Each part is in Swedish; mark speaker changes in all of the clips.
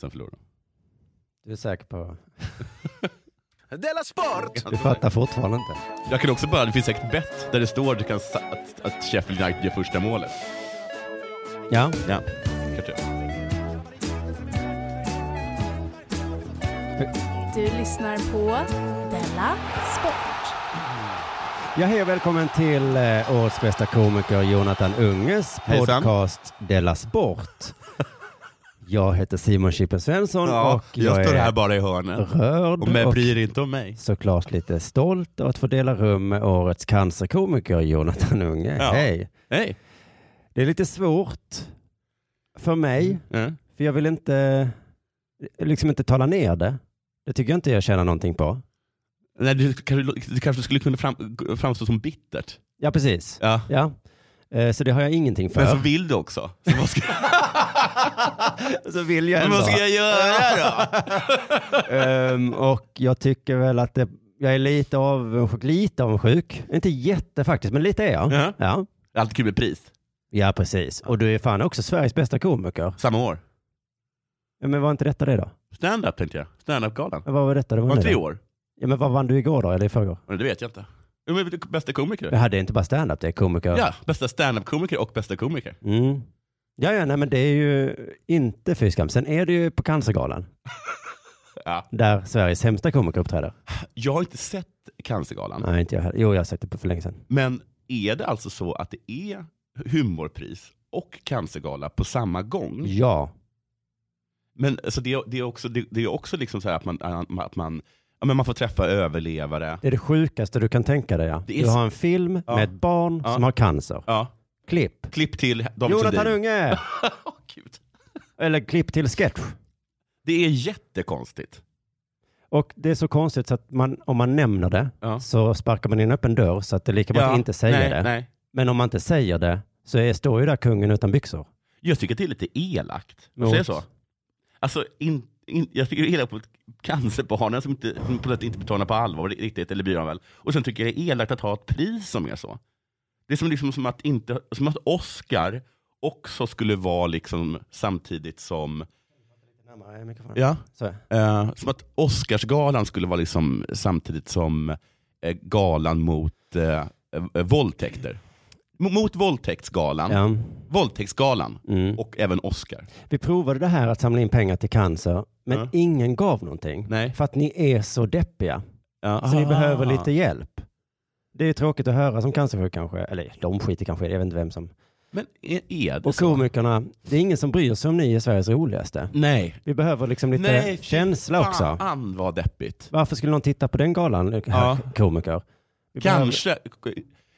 Speaker 1: Sen förlorade de.
Speaker 2: Du är säker på...
Speaker 3: Della Sport!
Speaker 2: Du fattar fortfarande inte.
Speaker 1: Jag kan också bara, det finns säkert bett där det står du kan, sa- att, att Sheffield United gör första målet.
Speaker 2: Ja.
Speaker 1: Ja, kanske.
Speaker 4: Du lyssnar på Della Sport.
Speaker 2: Ja, hej och välkommen till eh, årets bästa komiker Jonathan Unges
Speaker 1: Hejsan.
Speaker 2: podcast Della Sport. Jag heter Simon Chippen Svensson och jag, är
Speaker 1: bara i hörnet.
Speaker 2: rörd och
Speaker 1: bryr inte om mig.
Speaker 2: såklart lite stolt över att få dela rum med årets cancerkomiker Jonathan Unge.
Speaker 1: Ja.
Speaker 2: Hej!
Speaker 1: Nej.
Speaker 2: Det är lite svårt för mig,
Speaker 1: Ja.
Speaker 2: för jag vill inte, liksom inte tala ner det. Det tycker jag inte jag tjänar någonting på.
Speaker 1: Nej, du, kanske, du kanske skulle kunna fram, framstå som bittert.
Speaker 2: Ja, precis.
Speaker 1: Ja.
Speaker 2: Ja. Eh, Så det har jag ingenting för.
Speaker 1: Men så vill du också. Så vad ska,
Speaker 2: Så vill jag
Speaker 1: men
Speaker 2: ändå.
Speaker 1: vad ska jag göra då?
Speaker 2: Ehm, och jag tycker väl att det, jag är lite avundsjuk, lite avundsjuk. Inte jätte faktiskt, men lite är jag.
Speaker 1: Ja.
Speaker 2: Ja.
Speaker 1: Alltid kul med pris.
Speaker 2: ja, precis. Och du är fan också Sveriges bästa komiker.
Speaker 1: Samma år.
Speaker 2: Ja, Men var inte detta det då?
Speaker 1: Stand-up tänkte jag. Stand-up-galan.
Speaker 2: Men Vad var detta? Det var
Speaker 1: Var
Speaker 2: nu
Speaker 1: inte det i
Speaker 2: då?
Speaker 1: år?
Speaker 2: Ja, men vad vann du igår då, eller i förrgår?
Speaker 1: Men Det vet jag inte. Jo, men det- Bästa komiker.
Speaker 2: Jag hade inte bara stand-up, det är komiker.
Speaker 1: Ja, bästa stand-up-komiker och bästa komiker.
Speaker 2: Mm. Ja, ja, nej, men det är ju inte fy skam. Sen är det ju på Cancergalan.
Speaker 1: Ja.
Speaker 2: Där Sveriges sämsta komiker uppträder.
Speaker 1: Jag har inte sett Cancergalan.
Speaker 2: Nej, inte jag heller. Jo, jag har sagt det på för länge sedan.
Speaker 1: Men är det alltså så att det är humorpris och cancergala på samma gång?
Speaker 2: Ja,
Speaker 1: Men alltså, det, är- det är också, det, det är också liksom så här att man, att man, ja, men man får träffa överlevare.
Speaker 2: det är det sjukaste du kan tänka dig. Ja.
Speaker 1: Det är
Speaker 2: Du
Speaker 1: så-
Speaker 2: har en film
Speaker 1: Ja.
Speaker 2: med ett barn
Speaker 1: Ja.
Speaker 2: som har cancer.
Speaker 1: Ja,
Speaker 2: Klipp.
Speaker 1: klipp till David
Speaker 2: Jonathan
Speaker 1: Sundin.
Speaker 2: Unge!
Speaker 1: Åh, Gud.
Speaker 2: Eller klipp till sketch.
Speaker 1: Det är jättekonstigt.
Speaker 2: Och det är så konstigt så att man, om man nämner det
Speaker 1: Ja.
Speaker 2: så sparkar man in en öppen dörr så att det är lika bra
Speaker 1: Ja,
Speaker 2: att inte säga
Speaker 1: nej,
Speaker 2: det.
Speaker 1: Nej.
Speaker 2: Men om man inte säger det så är, står ju där kungen utan byxor.
Speaker 1: Jag tycker att det är lite elakt. Mot... Säger
Speaker 2: Mot-
Speaker 1: så? Alltså, in, in, jag tycker det är elakt mot cancerbarnen som, inte, som på något sätt inte betalar på allvar riktigt, eller bryr dem väl. Och sen tycker jag det är elakt att ha ett pris som är så. Det är som, liksom, som, att, inte, som att Oscar också skulle vara liksom, samtidigt som... Ja.
Speaker 2: Så.
Speaker 1: Eh, som att Oscarsgalan skulle vara liksom, samtidigt som eh, galan mot eh, eh, våldtäkter. Mot, mot våldtäktsgalan.
Speaker 2: Ja.
Speaker 1: Våldtäktsgalan
Speaker 2: Mm.
Speaker 1: och även Oscar.
Speaker 2: Vi provade det här att samla in pengar till cancer, men
Speaker 1: Ja.
Speaker 2: ingen gav någonting.
Speaker 1: Nej.
Speaker 2: För att ni är så deppiga,
Speaker 1: Ja. Ah.
Speaker 2: så ni behöver lite hjälp. Det är tråkigt att höra som cancersjuk kanske, eller de skiter kanske i det, jag vet inte vem som. Alltså.
Speaker 1: Men är, är det
Speaker 2: Och
Speaker 1: så?
Speaker 2: komikerna, det är ingen som bryr sig om ni är Sveriges roligaste.
Speaker 1: Nej.
Speaker 2: Vi behöver liksom lite
Speaker 1: Nej, fy
Speaker 2: känsla också.
Speaker 1: Fan vad deppigt.
Speaker 2: Varför skulle någon titta på den galan,
Speaker 1: Ja.
Speaker 2: ja. komiker? Vi
Speaker 1: Kanske.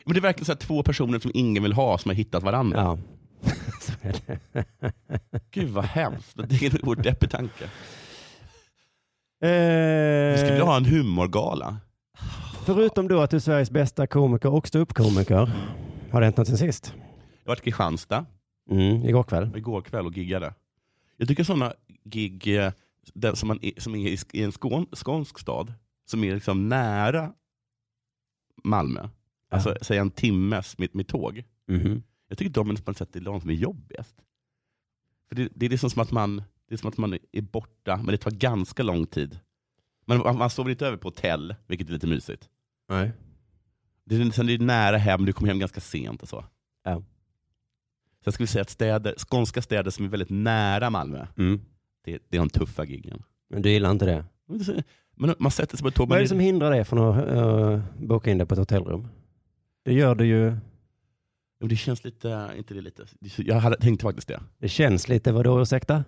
Speaker 1: Men det är verkligen så här två personer som ingen vill ha som har hittat varandra.
Speaker 2: Behöver, ja. Eh, Så är det.
Speaker 1: Gud vad hemskt. Det är en oerhört deppig tanke. Vi
Speaker 2: Eh,
Speaker 1: skulle ha en humorgala.
Speaker 2: Förutom då att du är Sveriges bästa komiker och ståuppkomiker, har det hänt något sen sist?
Speaker 1: Jag var i Kristianstad
Speaker 2: Mm, igår kväll.
Speaker 1: igår kväll och giggade. Jag tycker sådana gig eh, där som, man är, som är i sk- i en skån, skånsk stad, som är liksom nära Malmö, alltså säg en timmes med, med tåg.
Speaker 2: Mhm.
Speaker 1: Jag tycker de är på något sätt är de som är jobbigast. För det, det är liksom som att man det är som att man är borta, men det tar ganska lång tid. Man, man, man sover inte över på hotell, vilket är lite mysigt.
Speaker 2: Nej.
Speaker 1: Det är, sen är det nära hem, du kommer hem ganska sent och så.
Speaker 2: Ja.
Speaker 1: Sen ska vi säga att städer, skånska städer som är väldigt nära Malmö,
Speaker 2: Mm.
Speaker 1: det, det är de tuffa giggen.
Speaker 2: Men du gillar inte det?
Speaker 1: Men man sätter sig på ett tåg,
Speaker 2: Vad
Speaker 1: man
Speaker 2: är
Speaker 1: är,
Speaker 2: det som hindrar dig från att eh, boka in dig på ett hotellrum? Det gör du ju.
Speaker 1: Jo, det känns lite, inte det lite, jag hade, tänkte faktiskt det.
Speaker 2: Det känns lite, vadå ursäkta?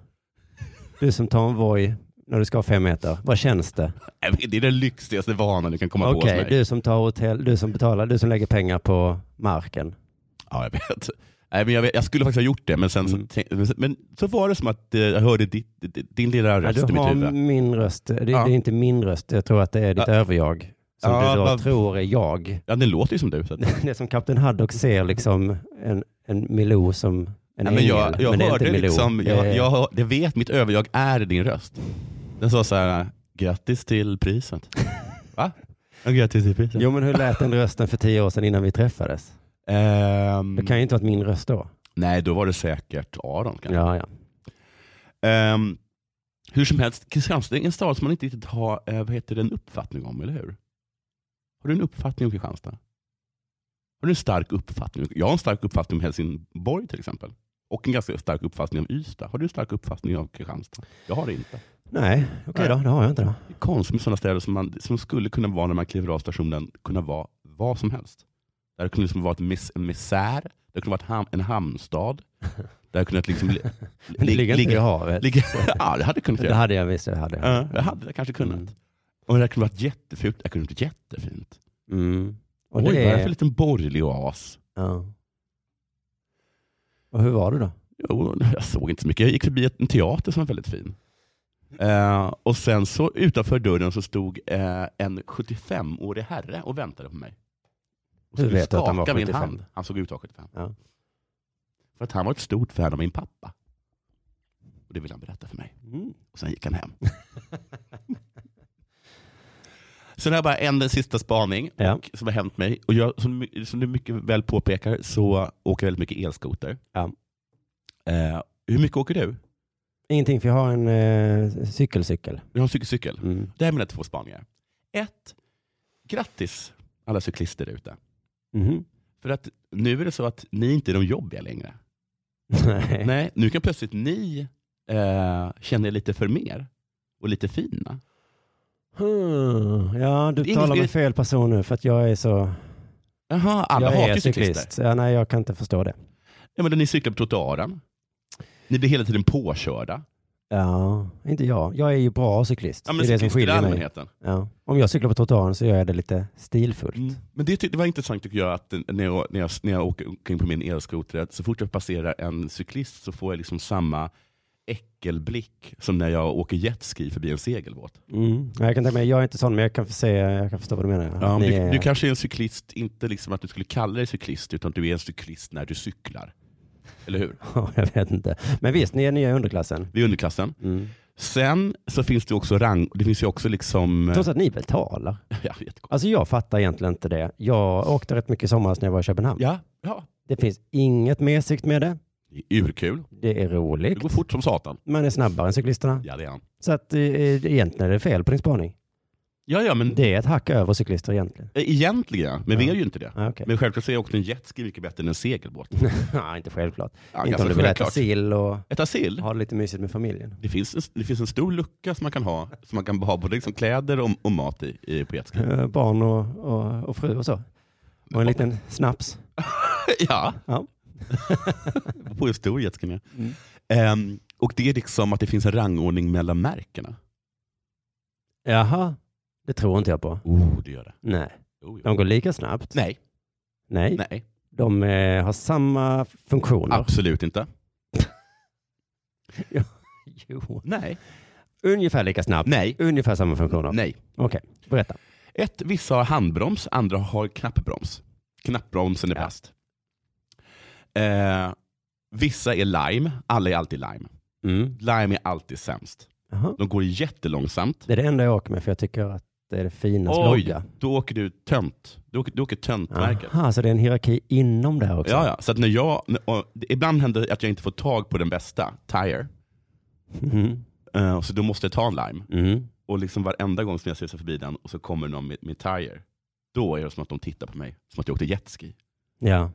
Speaker 2: Du som tar en Voi när du ska ha fem meter, vad känns det?
Speaker 1: Nej, men Äh, Det är den lyxigaste vanan du kan komma på hos
Speaker 2: Okej,
Speaker 1: mig.
Speaker 2: du som tar hotell, du som betalar, du som lägger pengar på marken.
Speaker 1: Ja, jag vet. Nej, men jag, vet, jag skulle faktiskt ha gjort det, men, sen så,
Speaker 2: Mm.
Speaker 1: tänkte- men, sen- men så var det som att eh, jag hörde ditt, ditt, din lilla
Speaker 2: Ja,
Speaker 1: röst
Speaker 2: du
Speaker 1: i mitt
Speaker 2: har
Speaker 1: huvud.
Speaker 2: min röst, det, det
Speaker 1: Ja.
Speaker 2: är inte min röst, jag tror att det är ditt
Speaker 1: Ja.
Speaker 2: överjag. Som
Speaker 1: Ja,
Speaker 2: du då
Speaker 1: vad-
Speaker 2: tror är jag.
Speaker 1: Ja, den låter ju som du. Så att, nej,
Speaker 2: Det är som Kapten Haddock ser liksom en, en Milou som en
Speaker 1: men
Speaker 2: ängel.
Speaker 1: jag, jag
Speaker 2: men det är
Speaker 1: hörde
Speaker 2: inte Milou. Eh.
Speaker 1: liksom,
Speaker 2: Det
Speaker 1: jag,
Speaker 2: är-
Speaker 1: jag, hör- det vet, mitt överjag är din röst. Den sa så här, grattis till priset. Va? Ja, grattis till priset.
Speaker 2: Jo men hur lät den rösten för tio år sedan innan vi träffades?
Speaker 1: Ehm,
Speaker 2: Det kan ju inte varit min röst då.
Speaker 1: Nej, då var det säkert Aron. kanske.
Speaker 2: Ja, ja.
Speaker 1: Ehm, Hur som helst, Kristianstad är en stad som man inte riktigt har eh, vad heter det, en uppfattning om, eller hur? Har du en uppfattning om Kristianstad? Har du en stark uppfattning? Jag har en stark uppfattning om Helsingborg till exempel. Och en ganska stark uppfattning om Ystad. Har du en stark uppfattning om Kristianstad? Jag har det inte.
Speaker 2: Nej, okej då. Det har jag inte då.
Speaker 1: Det är konstigt med sådana städer som, man, som skulle kunna vara när man kliver av stationen, kunna vara vad som helst. Där kunde liksom vara ett mis, en misär, där kunde vara ett ham, en hamnstad. Där kunde det liksom li,
Speaker 2: Men det
Speaker 1: li-
Speaker 2: ligger inte i
Speaker 1: ligga-
Speaker 2: havet.
Speaker 1: ligga, ja, det hade kunnat
Speaker 2: Det
Speaker 1: göra.
Speaker 2: hade jag visst. Det hade jag.
Speaker 1: Ja, det hade jag kanske kunnat.
Speaker 2: Mm.
Speaker 1: Och det kunde varit jättefult. Det kunde varit jättefint.
Speaker 2: Mm. Och
Speaker 1: Oj, vad
Speaker 2: det
Speaker 1: är det för
Speaker 2: är...
Speaker 1: liten borgerlig oas?
Speaker 2: Ja. Och hur var du då?
Speaker 1: Jo, jag såg inte så mycket. Jag gick förbi ett- en teater som var väldigt fin. Eh, och sen så utanför dörren så stod eh, en 75-årig herre och väntade på mig. Och
Speaker 2: Du
Speaker 1: skulle
Speaker 2: vet att han var
Speaker 1: skaka min
Speaker 2: 75.
Speaker 1: hand. Han såg ut att vara 75.
Speaker 2: Ja.
Speaker 1: För att han var ett stort fan av min pappa. Och det ville han berätta för mig. Och sen gick han hem. Sen har jag bara en sista spaning
Speaker 2: Ja.
Speaker 1: och, som har hänt mig. Och jag, som, my- som du mycket väl påpekar så åker jag väldigt mycket elskoter.
Speaker 2: Ja.
Speaker 1: Eh, hur mycket åker du?
Speaker 2: Ingenting, för jag har en eh, cykelcykel.
Speaker 1: Jag har en cykelcykel.
Speaker 2: Mm.
Speaker 1: Det här är mina två spaningar. Ett, grattis alla cyklister där ute.
Speaker 2: Mhm.
Speaker 1: För att nu är det så att ni inte är de jobbiga längre.
Speaker 2: Nej.
Speaker 1: Nej, nu kan plötsligt ni eh, känna er lite för mer och lite fina.
Speaker 2: Hmm. Ja, du
Speaker 1: Det är
Speaker 2: talar
Speaker 1: ingen-
Speaker 2: med fel person nu för att jag är så...
Speaker 1: Jaha, alla
Speaker 2: jag
Speaker 1: hatar
Speaker 2: är
Speaker 1: ju cyklister.
Speaker 2: Ja, nej, jag kan inte förstå det.
Speaker 1: Ja, men ni cyklar på trottoaren. Ni blir hela tiden påkörda.
Speaker 2: Ja, inte jag. Jag är ju bra cyklist.
Speaker 1: Ja, men
Speaker 2: det är det som
Speaker 1: cyklister i
Speaker 2: skiljer mig.
Speaker 1: allmänheten.
Speaker 2: Ja. Om jag cyklar på trottoaren så gör jag det lite stilfullt.
Speaker 1: Mm. Men det, ty- det var intressant tycker jag, att eh, när jag, när jag, när jag åker omkring på min elskoter, att så fort jag passerar en cyklist så får jag liksom samma äckelblick som när jag åker jetski förbi en segelbåt.
Speaker 2: Mm. Ja, Jag kan tänka mig, jag är inte sån men jag kan, se, jag kan förstå vad du menar.
Speaker 1: Ja, men
Speaker 2: Ni
Speaker 1: du,
Speaker 2: är-
Speaker 1: du kanske är en cyklist, inte liksom att du skulle kalla dig cyklist, utan att du är en cyklist när du cyklar. Eller hur?
Speaker 2: Ja, jag vet inte. Men visst, ni är nya i underklassen.
Speaker 1: Vi är underklassen.
Speaker 2: Mm.
Speaker 1: Sen så finns det också rang, det finns ju också liksom... eh,
Speaker 2: Trots att ni betalar.
Speaker 1: Ja, jättekonstigt.
Speaker 2: Alltså jag fattar egentligen inte det. Jag åkte rätt mycket i somras när jag var i Köpenhamn.
Speaker 1: ja, ja.
Speaker 2: Det finns inget mesigt med det.
Speaker 1: Det är urkul.
Speaker 2: Det är
Speaker 1: Det
Speaker 2: roligt.
Speaker 1: går fort som satan.
Speaker 2: Man är snabbare än cyklisterna.
Speaker 1: Ja, det är han.
Speaker 2: Så att eh, egentligen är det fel på din spaning.
Speaker 1: Ja, ja, men
Speaker 2: Det är ett hack över cyklister egentligen.
Speaker 1: Eh, egentligen, men vi är ju inte det.
Speaker 2: Ah, okay.
Speaker 1: Men självklart så är också en jetski mycket bättre än en segelbåt.
Speaker 2: Nej, inte självklart.
Speaker 1: Ja,
Speaker 2: inte
Speaker 1: ganska
Speaker 2: om du vill äta
Speaker 1: självklart.
Speaker 2: sill och
Speaker 1: Äta sill?
Speaker 2: ha det lite mysigt med familjen.
Speaker 1: Det finns, en, det finns en stor lucka som man kan ha, som man kan ha både liksom kläder och, och mat i, i på jetski.
Speaker 2: Eh, Barn och, och, och fru och så. Och en liten snaps.
Speaker 1: ja.
Speaker 2: Ja. Mm.
Speaker 1: på en stor jetski. ja. Ehm, och det är liksom att det finns en rangordning mellan märkena.
Speaker 2: Jaha, det tror inte jag på.
Speaker 1: Oh, det gör det.
Speaker 2: Nej,
Speaker 1: Oh, ja.
Speaker 2: de går lika snabbt.
Speaker 1: Nej,
Speaker 2: Nej,
Speaker 1: nej,
Speaker 2: de eh, har samma funktioner.
Speaker 1: absolut inte.
Speaker 2: Jo.
Speaker 1: Nej,
Speaker 2: Ungefär lika snabbt.
Speaker 1: nej,
Speaker 2: Ungefär samma funktioner.
Speaker 1: nej.
Speaker 2: Okej, berätta.
Speaker 1: Ett, vissa har handbroms, andra har knappbroms. Knappbromsen är
Speaker 2: Ja.
Speaker 1: bäst. Eh, vissa är lime, alla är alltid lime.
Speaker 2: Mm.
Speaker 1: Lime är alltid sämst.
Speaker 2: Jaha.
Speaker 1: De går jättelångsamt.
Speaker 2: Det är det enda jag åker med för jag tycker att det är det finaste
Speaker 1: Oj,
Speaker 2: logga.
Speaker 1: då åker du tönt. Du åker, du åker töntmärket.
Speaker 2: Aha, så det är en hierarki inom det här också?
Speaker 1: Ja, ja. Så att när jag, när- och det- ibland händer det att jag inte får tag på den bästa, Tire.
Speaker 2: Mhm.
Speaker 1: Eh, och så då måste jag ta en lime.
Speaker 2: Mm.
Speaker 1: Och liksom varenda gång som jag susar förbi den och så kommer någon med, med Tire. Då är det som att de tittar på mig. Som att jag åkte jetski.
Speaker 2: Ja.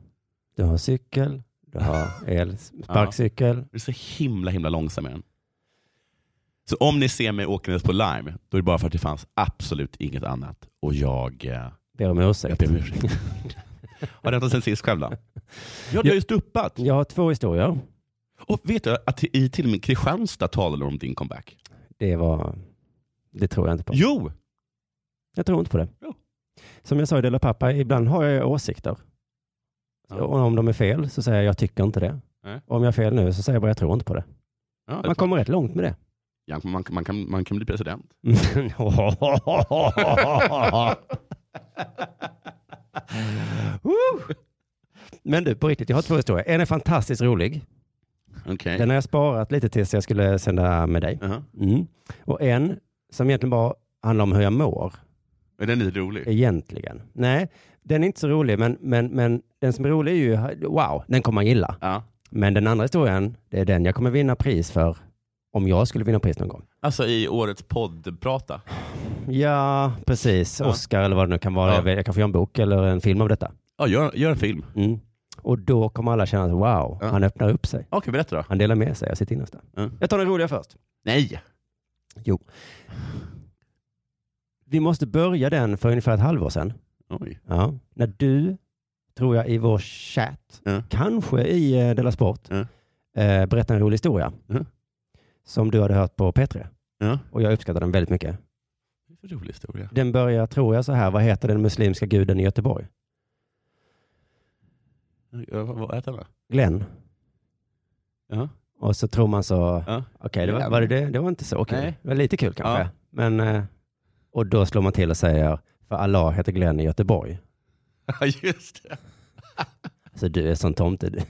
Speaker 2: Du har cykel, du har el, sparkcykel.
Speaker 1: Det är så himla himla långsam är den. Så om ni ser mig åkandes på lime, då är det bara för att det fanns absolut inget annat. Och jag, eh,
Speaker 2: Ber om
Speaker 1: jag
Speaker 2: ursäkt.
Speaker 1: ber om ursäkt. Har det hänt sen sist själv då? Ja, du har ju stuppat.
Speaker 2: Jag har två historier.
Speaker 1: Och vet du att i till och med Kristianstad talade om din comeback?
Speaker 2: Det var... Det tror jag inte på.
Speaker 1: Jo!
Speaker 2: Jag tror inte på det.
Speaker 1: Jo.
Speaker 2: Som jag sa i Dela Pappa, ibland har jag åsikter.
Speaker 1: Ja.
Speaker 2: Och om de är fel så säger jag jag tycker inte det.
Speaker 1: Nej.
Speaker 2: Och om jag är fel nu så säger jag bara jag tror inte på det.
Speaker 1: Ja, det är
Speaker 2: Man kommer rätt långt med det.
Speaker 1: Ja, man, man, kan, man kan bli president.
Speaker 2: Woo! Men du, på riktigt, jag har två historier. En är fantastiskt rolig.
Speaker 1: Okej. Uh-huh.
Speaker 2: Den har jag sparat lite tills jag skulle sända med dig.
Speaker 1: Jaha.
Speaker 2: Mm. Och en som egentligen bara handlar om hur jag mår.
Speaker 1: Är den lite rolig?
Speaker 2: Egentligen. Nej, den är inte så rolig, men, men, men den som är rolig är ju, wow, den kommer man gilla.
Speaker 1: Ja.
Speaker 2: Men den andra historien, det är den jag kommer vinna pris för om jag skulle vinna pris någon gång.
Speaker 1: Alltså i årets poddprata.
Speaker 2: Ja, precis.
Speaker 1: Ja.
Speaker 2: Oscar eller vad det nu kan vara.
Speaker 1: Ja.
Speaker 2: Jag vet- Jag kan få göra en bok eller en film av detta.
Speaker 1: Ja, gör, gör en film.
Speaker 2: Mm. Och då kommer alla känna att wow,
Speaker 1: Ja.
Speaker 2: han öppnar upp sig.
Speaker 1: Okej, berätta då.
Speaker 2: Han delar med sig av sitt innersta.
Speaker 1: Ja.
Speaker 2: Jag tar den roliga först.
Speaker 1: Nej!
Speaker 2: Jo. Vi måste börja den för ungefär ett halvår sedan.
Speaker 1: Oj.
Speaker 2: Ja. När du, tror jag, i vår chatt,
Speaker 1: Ja.
Speaker 2: kanske i eh, Della Sport,
Speaker 1: Ja.
Speaker 2: eh, berättade en rolig historia.
Speaker 1: Ja.
Speaker 2: Som du hade hört på P3.
Speaker 1: Ja.
Speaker 2: Och jag uppskattar den väldigt mycket.
Speaker 1: Det är en rolig historia.
Speaker 2: Den börjar, tror jag, så här. Vad heter den muslimska guden i Göteborg?
Speaker 1: Ja, vad- Vad heter den?
Speaker 2: Glenn.
Speaker 1: Ja.
Speaker 2: Och så tror man så,
Speaker 1: Ja.
Speaker 2: okej, det var, var det, det det var inte så kul.
Speaker 1: Nej.
Speaker 2: Det var lite kul kanske.
Speaker 1: Ja.
Speaker 2: Men, eh, och då slår man till och säger, för Allah heter Glenn i Göteborg.
Speaker 1: Ja, just det.
Speaker 2: Alltså du är sån tomte du.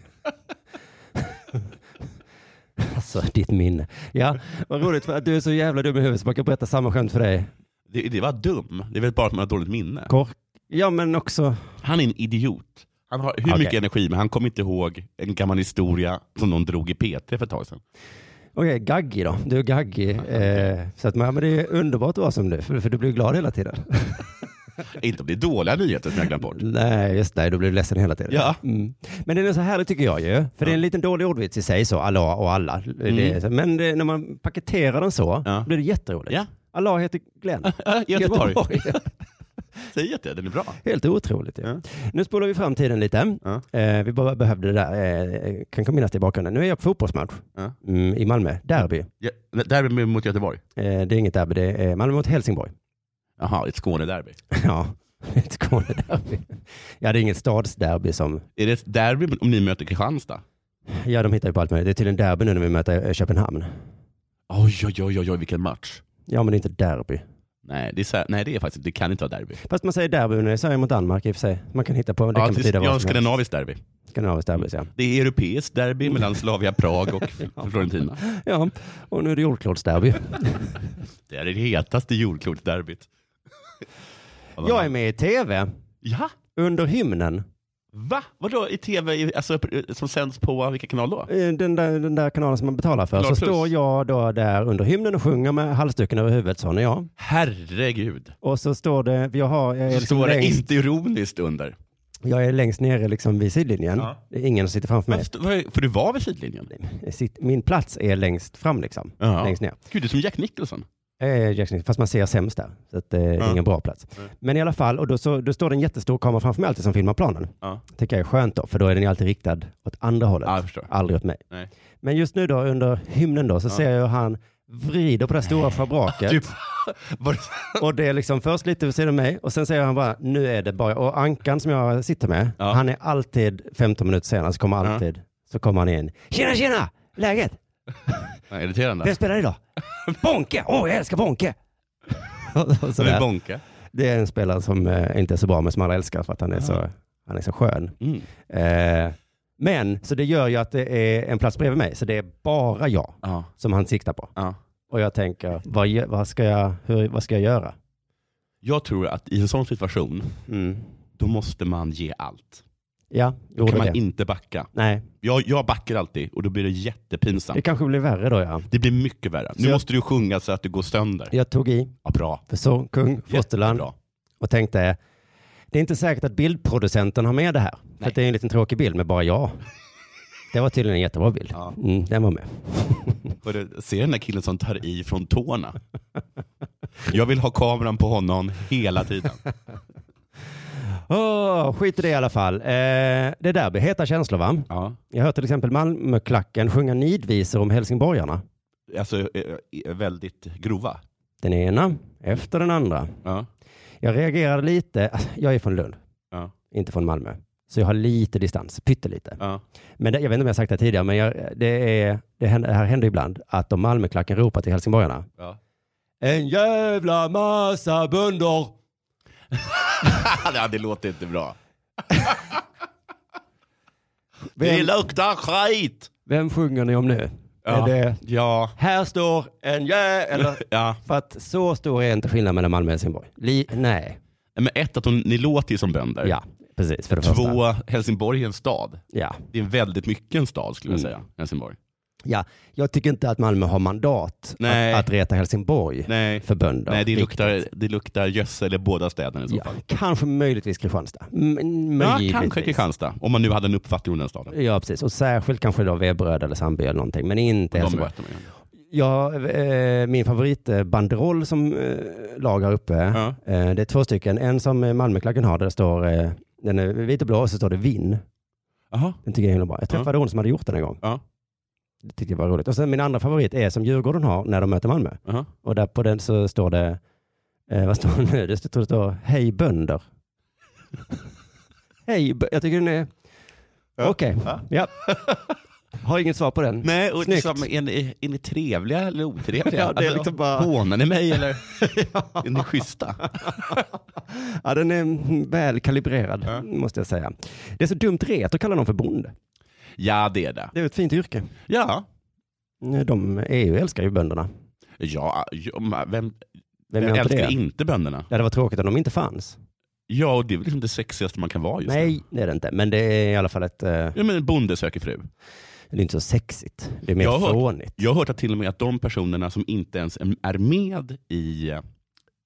Speaker 2: alltså ditt minne. Ja, vad roligt för att du är så jävla dum i huvudet så man kan berätta samma skämt för dig.
Speaker 1: det. Det var dum. Det är väl bara att man har dåligt minne.
Speaker 2: Kork. Ja men också,
Speaker 1: Han är en idiot. Han har hur
Speaker 2: Okej.
Speaker 1: mycket energi, men han kommer inte ihåg en gammal historia som någon drog i PT för ett tag sedan.
Speaker 2: okej gaggig då. Du är gaggig. Eh, så att, men men det är underbart att vara som du, för, för du blir glad hela tiden.
Speaker 1: inte om det är dåliga nyheter som jag glömt bort.
Speaker 2: Nej, just det. Då blir du ledsen hela tiden.
Speaker 1: Ja.
Speaker 2: Mm. Men den är så härlig tycker jag ju. För det är en liten dålig ordvits i sig, så Allah och alla. Det är, så- men det, när man paketerar den så
Speaker 1: Mm. Ja.
Speaker 2: blir det jätteroligt.
Speaker 1: Ja.
Speaker 2: Allah heter Glenn.
Speaker 1: Ja, Göteborg.
Speaker 2: Göteborg.
Speaker 1: Säg att det, den är bra.
Speaker 2: Helt otroligt. ju.
Speaker 1: Ja.
Speaker 2: Nu spolar vi fram tiden lite.
Speaker 1: Ja.
Speaker 2: Eh, vi bara behövde det där. Eh, kan komma minnas det i bakgrunden. Nu är jag på fotbollsmatch
Speaker 1: Ja.
Speaker 2: mm, i Malmö. Derby. Eh,
Speaker 1: Ja, derby mot Göteborg.
Speaker 2: det är inget derby, det är Malmö mot Helsingborg.
Speaker 1: Jaha, ett Skånederby.
Speaker 2: ja, ett Skånederby. ja, det är inget stadsderby som
Speaker 1: Är det ett derby om ni möter Kristianstad?
Speaker 2: Ja, de hittar ju på allt möjligt. Det är tydligen derby nu när vi möter eh, Köpenhamn.
Speaker 1: Oj, oj, oj, oj, oj vilken match.
Speaker 2: Ja, men det är inte derby.
Speaker 1: Nej, det, är så här, nej, det är faktiskt det kan inte vara derby.
Speaker 2: Fast man säger derby när det är Sverige mot Danmark i och för sig. Man kan hitta på, det kan
Speaker 1: det-
Speaker 2: betyda
Speaker 1: ja,
Speaker 2: vad som helst.
Speaker 1: skandinaviskt derby.
Speaker 2: Skandinaviskt derby, ja.
Speaker 1: Det är europeiskt derby mellan Slavia Prag och Florentina.
Speaker 2: ja. Och nu är det jordklotsderby.
Speaker 1: Det är det hetaste jordklotderbyt.
Speaker 2: Jag är med i tv
Speaker 1: Ja,
Speaker 2: under hymnen.
Speaker 1: va? Vadå i tv, i- alltså, som sänds på vilka kanal då?
Speaker 2: Eh, Den där, den där kanalen som man betalar för.
Speaker 1: Klar
Speaker 2: så
Speaker 1: plus.
Speaker 2: står jag då där under hymnen och sjunger med halsduken över huvudet, sån är jag.
Speaker 1: Herregud.
Speaker 2: Och så står det, jag, har, jag, är,
Speaker 1: Så
Speaker 2: liksom
Speaker 1: var det
Speaker 2: längst,
Speaker 1: inte ironiskt under.
Speaker 2: jag är längst nere liksom vid sidlinjen.
Speaker 1: Ja.
Speaker 2: Det är ingen som sitter framför mig.
Speaker 1: Varför stod- var- För du var vid sidlinjen?
Speaker 2: Sitt- Min plats är längst fram liksom,
Speaker 1: Ja.
Speaker 2: längst ner.
Speaker 1: Gud, du är som Jack Nicholson.
Speaker 2: Eh, Jack Nicholson, fast man ser sämst där. Så att, eh, det är ingen bra plats. Men i alla fall, och då, så, då står det en jättestor kamera framför mig alltid som filmar planen.
Speaker 1: Ja.
Speaker 2: tycker jag är skönt då, för då är den ju alltid riktad åt andra hållet.
Speaker 1: Ja, jag förstår.
Speaker 2: Aldrig åt mig.
Speaker 1: Nej.
Speaker 2: Men just nu då under hymnen då så ser jag hur han vrider på det här stora schabraket.
Speaker 1: Typ, var det,
Speaker 2: Och det är liksom först lite vid sidan av mig och sen säger han bara nu är det bara, och Ankan som jag sitter med,
Speaker 1: Ja.
Speaker 2: han är alltid 15 minuter senare så kommer alltid, så kommer han in. Tjena tjena! Läget?
Speaker 1: nej, irriterande.
Speaker 2: Vem spelar idag? Bonke! Åh, jag älskar Bonke! Och
Speaker 1: Som en
Speaker 2: sådär.
Speaker 1: bonka.
Speaker 2: Det är en spelare som eh, inte är så bra, men som alla älskar för att han är, så, han är så skön.
Speaker 1: Mm.
Speaker 2: Eh, men, så det gör ju att det är en plats bredvid mig, så det är bara jag
Speaker 1: Ja,
Speaker 2: som han siktar på.
Speaker 1: ja.
Speaker 2: Och jag tänker, vad, gö- vad, ska, jag, hur, vad ska jag göra?
Speaker 1: Jag tror att i en sån situation, då måste man ge allt.
Speaker 2: Ja,
Speaker 1: Då
Speaker 2: gjorde
Speaker 1: kan man
Speaker 2: det.
Speaker 1: inte backa.
Speaker 2: Nej,
Speaker 1: Jag, jag backar alltid och då blir det jättepinsamt.
Speaker 2: det kanske blir värre då ja.
Speaker 1: Det blir mycket värre. Nu
Speaker 2: Så jag-
Speaker 1: måste du sjunga så att du går sönder.
Speaker 2: Jag tog i,
Speaker 1: Ja, bra.
Speaker 2: för så, kung, fosterland,
Speaker 1: Mm, Jättebra.
Speaker 2: och tänkte, det är inte säkert att bildproducenten har med det här. För att det är en liten tråkig bild med bara jag. Det var tydligen en jättebra bild.
Speaker 1: Ja.
Speaker 2: Mm, den var med.
Speaker 1: Och det- Ser den där killen som tar i från tårna? Jag vill ha kameran på honom hela tiden.
Speaker 2: Åh, skit i det i alla fall. Eh, det där blir heta känslor va?
Speaker 1: Ja.
Speaker 2: Jag hör till exempel Malmöklacken sjunga nidvisor om helsingborgarna.
Speaker 1: Alltså eh, eh, väldigt grova.
Speaker 2: Den ena efter den andra.
Speaker 1: Ja.
Speaker 2: Jag reagerade lite. Alltså, Jag är från Lund,
Speaker 1: Ja.
Speaker 2: inte från Malmö. Så jag har lite distans, pyttelite.
Speaker 1: Ja.
Speaker 2: Men det, jag vet inte om jag har sagt det tidigare, men jag, det, är, det, händer, det här händer ibland att de Malmöklacken ropar till helsingborgarna.
Speaker 1: Ja.
Speaker 2: En jävla massa bönder.
Speaker 1: ja, det låter inte bra. Det
Speaker 2: Vem,
Speaker 1: luktar skit!
Speaker 2: vem sjunger ni om nu?
Speaker 1: Ja.
Speaker 2: Är det,
Speaker 1: Ja.
Speaker 2: här står en jä... Eller,
Speaker 1: ja.
Speaker 2: för att så stor är inte skillnaden mellan Malmö och Helsingborg. Li, nej.
Speaker 1: Men ett, att hon, ni låter ju som bönder.
Speaker 2: Ja, precis. För det första.
Speaker 1: Två, Helsingborg är en stad.
Speaker 2: Ja.
Speaker 1: Det är väldigt mycket en stad skulle jag
Speaker 2: Mm.
Speaker 1: säga. Helsingborg.
Speaker 2: Ja, jag tycker inte att Malmö har mandat
Speaker 1: Nej.
Speaker 2: Att, att reta Helsingborg
Speaker 1: Nej,
Speaker 2: för bönder.
Speaker 1: Nej det,
Speaker 2: Riktigt.
Speaker 1: luktar, det luktar gödsel i båda städerna i så
Speaker 2: Ja,
Speaker 1: fall.
Speaker 2: kanske möjligtvis Kristianstad. M-
Speaker 1: Ja,
Speaker 2: möjligtvis.
Speaker 1: kanske Kristianstad, om man nu hade en uppfattning om den staden.
Speaker 2: Ja, precis. Och särskilt kanske då Veberöd eller Sandby eller någonting, men inte
Speaker 1: De
Speaker 2: Helsingborg.
Speaker 1: möter mig.
Speaker 2: Ja, eh, min favoritbanderoll som eh, lag har uppe,
Speaker 1: Ja.
Speaker 2: eh, det är två stycken. En som eh, Malmöklacken har, där det står, eh, den är vit och blå, och så står det vinn.
Speaker 1: Jaha,
Speaker 2: Den tycker jag är himla bra. Jag träffade hon som hade gjort den en gång.
Speaker 1: Ja.
Speaker 2: Det tyckte jag var roligt. Och sen min andra favorit är som Djurgården har när de möter Malmö.
Speaker 1: jaha.
Speaker 2: Och där på den så står det, eh, vad står det nu? Det står, det står hej bönder. hej bö- Jag tycker den är,
Speaker 1: Ja.
Speaker 2: okej.
Speaker 1: Ja.
Speaker 2: Ja. Har inget svar på den.
Speaker 1: Nej, och
Speaker 2: Snyggt.
Speaker 1: liksom, är, ni, är ni trevliga eller otrevliga? Alltså,
Speaker 2: Ja, det är liksom bara-
Speaker 1: Hånar ni mig eller är ni schyssta?
Speaker 2: Ja, den är mm, väl kalibrerad,
Speaker 1: Ja.
Speaker 2: måste jag säga. Det är så dumt ret att kalla någon för bonde.
Speaker 1: Ja, det är det.
Speaker 2: Det är ett fint yrke.
Speaker 1: Ja,
Speaker 2: De EU älskar ju bönderna.
Speaker 1: ja, ja men vem, jag
Speaker 2: Vem gör inte
Speaker 1: älskar
Speaker 2: det?
Speaker 1: inte bönderna?
Speaker 2: Ja, det var tråkigt om de inte fanns.
Speaker 1: Ja, och det är väl liksom det sexigaste man kan vara just nu.
Speaker 2: Nej, det är det inte. Men det är i alla fall ett... eh,
Speaker 1: Ja, men bonde söker fru.
Speaker 2: Det är inte så sexigt. Det är mer
Speaker 1: Jag har hört-
Speaker 2: fånigt.
Speaker 1: Jag har hört att till och med att de personerna som inte ens är med i, eh,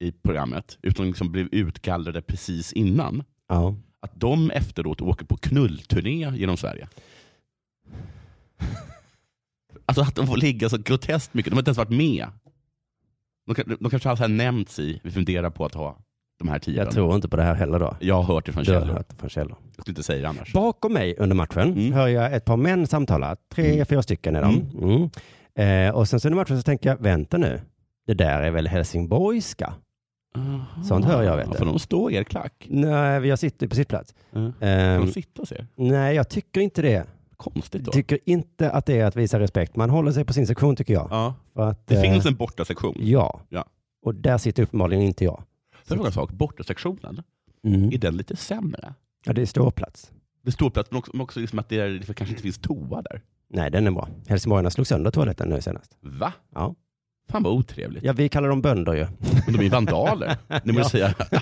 Speaker 1: i programmet, utan liksom blev utgallrade precis innan,
Speaker 2: Ja.
Speaker 1: att de efteråt åker på knullturné genom Sverige. Alltså att de får ligga så groteskt mycket. De har inte ens varit med. De, kan- de kanske har nämnts i, vi funderar på att ha de här tiden.
Speaker 2: Jag tror inte på det här heller då.
Speaker 1: jag har hört det från
Speaker 2: Du har
Speaker 1: källor.
Speaker 2: hört det från källor.
Speaker 1: Jag skulle inte säga det annars.
Speaker 2: Bakom mig under matchen
Speaker 1: Mm.
Speaker 2: hör jag ett par män samtala. Tre,
Speaker 1: Mm.
Speaker 2: fyra stycken är de. Mm. Eh, och sen så under matchen så tänker jag, vänta nu. Det där är väl helsingborgska?
Speaker 1: Aha.
Speaker 2: Sånt hör jag, vet
Speaker 1: Ja,
Speaker 2: du.
Speaker 1: För de står i er klack.
Speaker 2: Nej, jag sitter på sittplats.
Speaker 1: Mm.
Speaker 2: Ehm,
Speaker 1: De sitter och ser.
Speaker 2: nej, jag tycker inte det.
Speaker 1: Konstigt då.
Speaker 2: Jag tycker inte att det är att visa respekt. Man håller sig på sin sektion tycker jag.
Speaker 1: ja.
Speaker 2: För att,
Speaker 1: Det
Speaker 2: eh,
Speaker 1: finns en bortasektion.
Speaker 2: Ja.
Speaker 1: Ja.
Speaker 2: Och där sitter uppenbarligen inte jag. Mm.
Speaker 1: Sen var en sak, bortasektionen, är den lite sämre?
Speaker 2: Ja, det är ståplats.
Speaker 1: Det står plats, men också, men också liksom att det är, det kanske inte finns toa där.
Speaker 2: Nej, den är bra. Helsingborgarna slog sönder toaletten nu senast.
Speaker 1: Va?
Speaker 2: Ja.
Speaker 1: Fan vad otrevligt.
Speaker 2: Ja, vi kallar dem bönder ju.
Speaker 1: Men de är vandaler. Nu måste jag säga.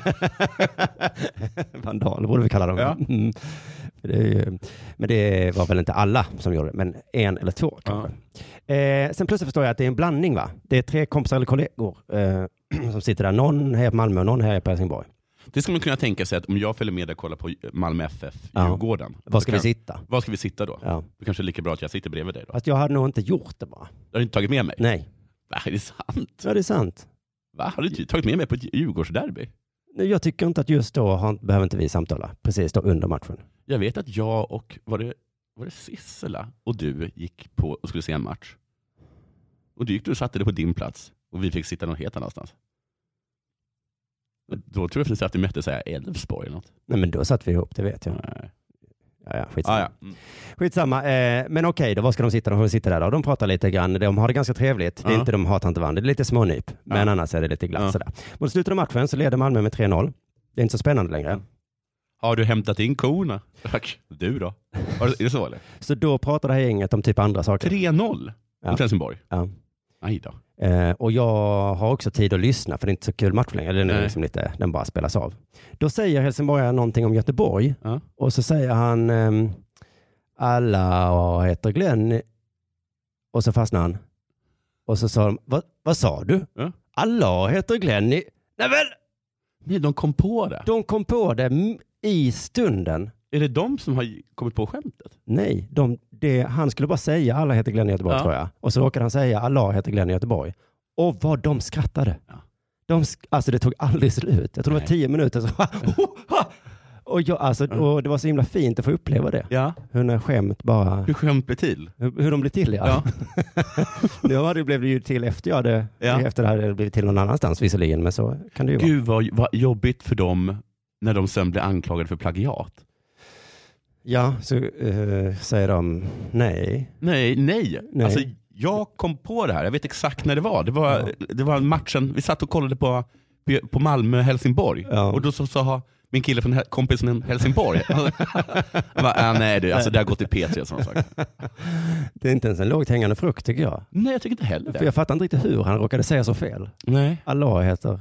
Speaker 2: Vandaler borde vi kalla dem.
Speaker 1: Ja.
Speaker 2: Mm. Det är ju- Men det var väl inte alla som gjorde det, men en eller två kanske. Eh, sen plötsligt förstår jag att det är en blandning va? Det är tre kompisar eller kollegor eh, som sitter där. Någon hejar på Malmö och någon hejar på Helsingborg.
Speaker 1: Det skulle man kunna tänka sig att om jag följer med dig och kollar på Malmö FF,
Speaker 2: Ja.
Speaker 1: Djurgården.
Speaker 2: Var ska
Speaker 1: då
Speaker 2: vi
Speaker 1: kan-
Speaker 2: sitta?
Speaker 1: Var ska vi sitta då?
Speaker 2: Ja.
Speaker 1: Det kanske är lika bra att jag sitter bredvid dig då.
Speaker 2: Fast jag hade nog inte gjort det bara.
Speaker 1: Har du inte tagit med mig?
Speaker 2: Nej,
Speaker 1: Va, är det sant?
Speaker 2: ja, det är sant.
Speaker 1: Va? Har du inte tagit med mig på ett Djurgårdsderby?
Speaker 2: Nej, Jag tycker inte att just då har, behöver inte vi samtala precis då under matchen.
Speaker 1: Jag vet att jag och, var det, var det Sissela och du gick på och skulle se en match. Och du gick du och satte dig på din plats och vi fick sitta någon helt annanstans. Då tror jag faktiskt att vi mötte så här Elfsborg eller något.
Speaker 2: Nej, men då satt vi ihop, det vet jag.
Speaker 1: Nej.
Speaker 2: Ja, ja, skitsamma.
Speaker 1: Ah, ja. Mm.
Speaker 2: Skitsamma, eh, men okej då, var ska de sitta? De får sitta där då. De pratar lite grann, de har det ganska trevligt. Det är
Speaker 1: Ja.
Speaker 2: inte de hatar inte varandra, det är lite smånyp. Men
Speaker 1: Ja.
Speaker 2: annars är det lite glatt
Speaker 1: Ja.
Speaker 2: sådär. Mot slutet av matchen så leder Malmö med 3-0. Det är inte så spännande längre.
Speaker 1: Mm. Har du hämtat in korna? Tack. Du då? Har du- Är det så eller?
Speaker 2: Så då pratar det här gänget om typ andra saker.
Speaker 1: 3-0
Speaker 2: Ja.
Speaker 1: mot Helsingborg.
Speaker 2: Ja.
Speaker 1: Aj då.
Speaker 2: Eh, och jag har också tid att lyssna för det är inte så kul match längre. Den, är
Speaker 1: Nej.
Speaker 2: liksom lite, den bara spelas av. Då säger helsingborgaren någonting om Göteborg
Speaker 1: Ja.
Speaker 2: och så säger han ehm, alla heter Glenn och så fastnar han. Och så sa de, "Vad- vad sa du?
Speaker 1: Ja.
Speaker 2: Alla heter Glenn i... Nej men!
Speaker 1: Nej, de kom på det.
Speaker 2: De kom på det m- i stunden.
Speaker 1: Är det de som har kommit på skämtet?
Speaker 2: Nej, de, det, han skulle bara säga alla heter Glenn i Göteborg
Speaker 1: Ja.
Speaker 2: tror jag. Och så råkade han säga alla heter Glenn i Göteborg. Och vad de skrattade.
Speaker 1: Ja.
Speaker 2: De, sk- alltså det tog aldrig slut. Jag tror det var
Speaker 1: Nej. Mm.
Speaker 2: tio minuter. Så, och, jag, alltså, och det var så himla fint att få uppleva det.
Speaker 1: Ja.
Speaker 2: Hur när skämt bara,
Speaker 1: Hur skämt blir till?
Speaker 2: hur, hur de blir till ja. nu har det blev det ju till efter jag hade,
Speaker 1: Ja.
Speaker 2: efter det här hade det blivit till någon annanstans visserligen, men så kan det ju vara.
Speaker 1: Gud vad, vad jobbigt för dem när de sen blir anklagade för plagiat.
Speaker 2: Ja, så eh, säger de nej.
Speaker 1: Nej, nej.
Speaker 2: Nej.
Speaker 1: Alltså, jag kom på det här, jag vet exakt när det var. Det var, det var matchen, vi satt och kollade på, på Malmö-Helsingborg
Speaker 2: Ja.
Speaker 1: och då så sa min kille från Hel- kompisen från Helsingborg, han bara, "Ah, nej du, alltså, det har gått i P3 som sagt.
Speaker 2: Det är inte ens en lågt hängande frukt tycker jag.
Speaker 1: Nej, jag tycker inte heller
Speaker 2: För
Speaker 1: det.
Speaker 2: jag fattar inte riktigt hur han råkade säga så fel.
Speaker 1: Nej.
Speaker 2: Allah heter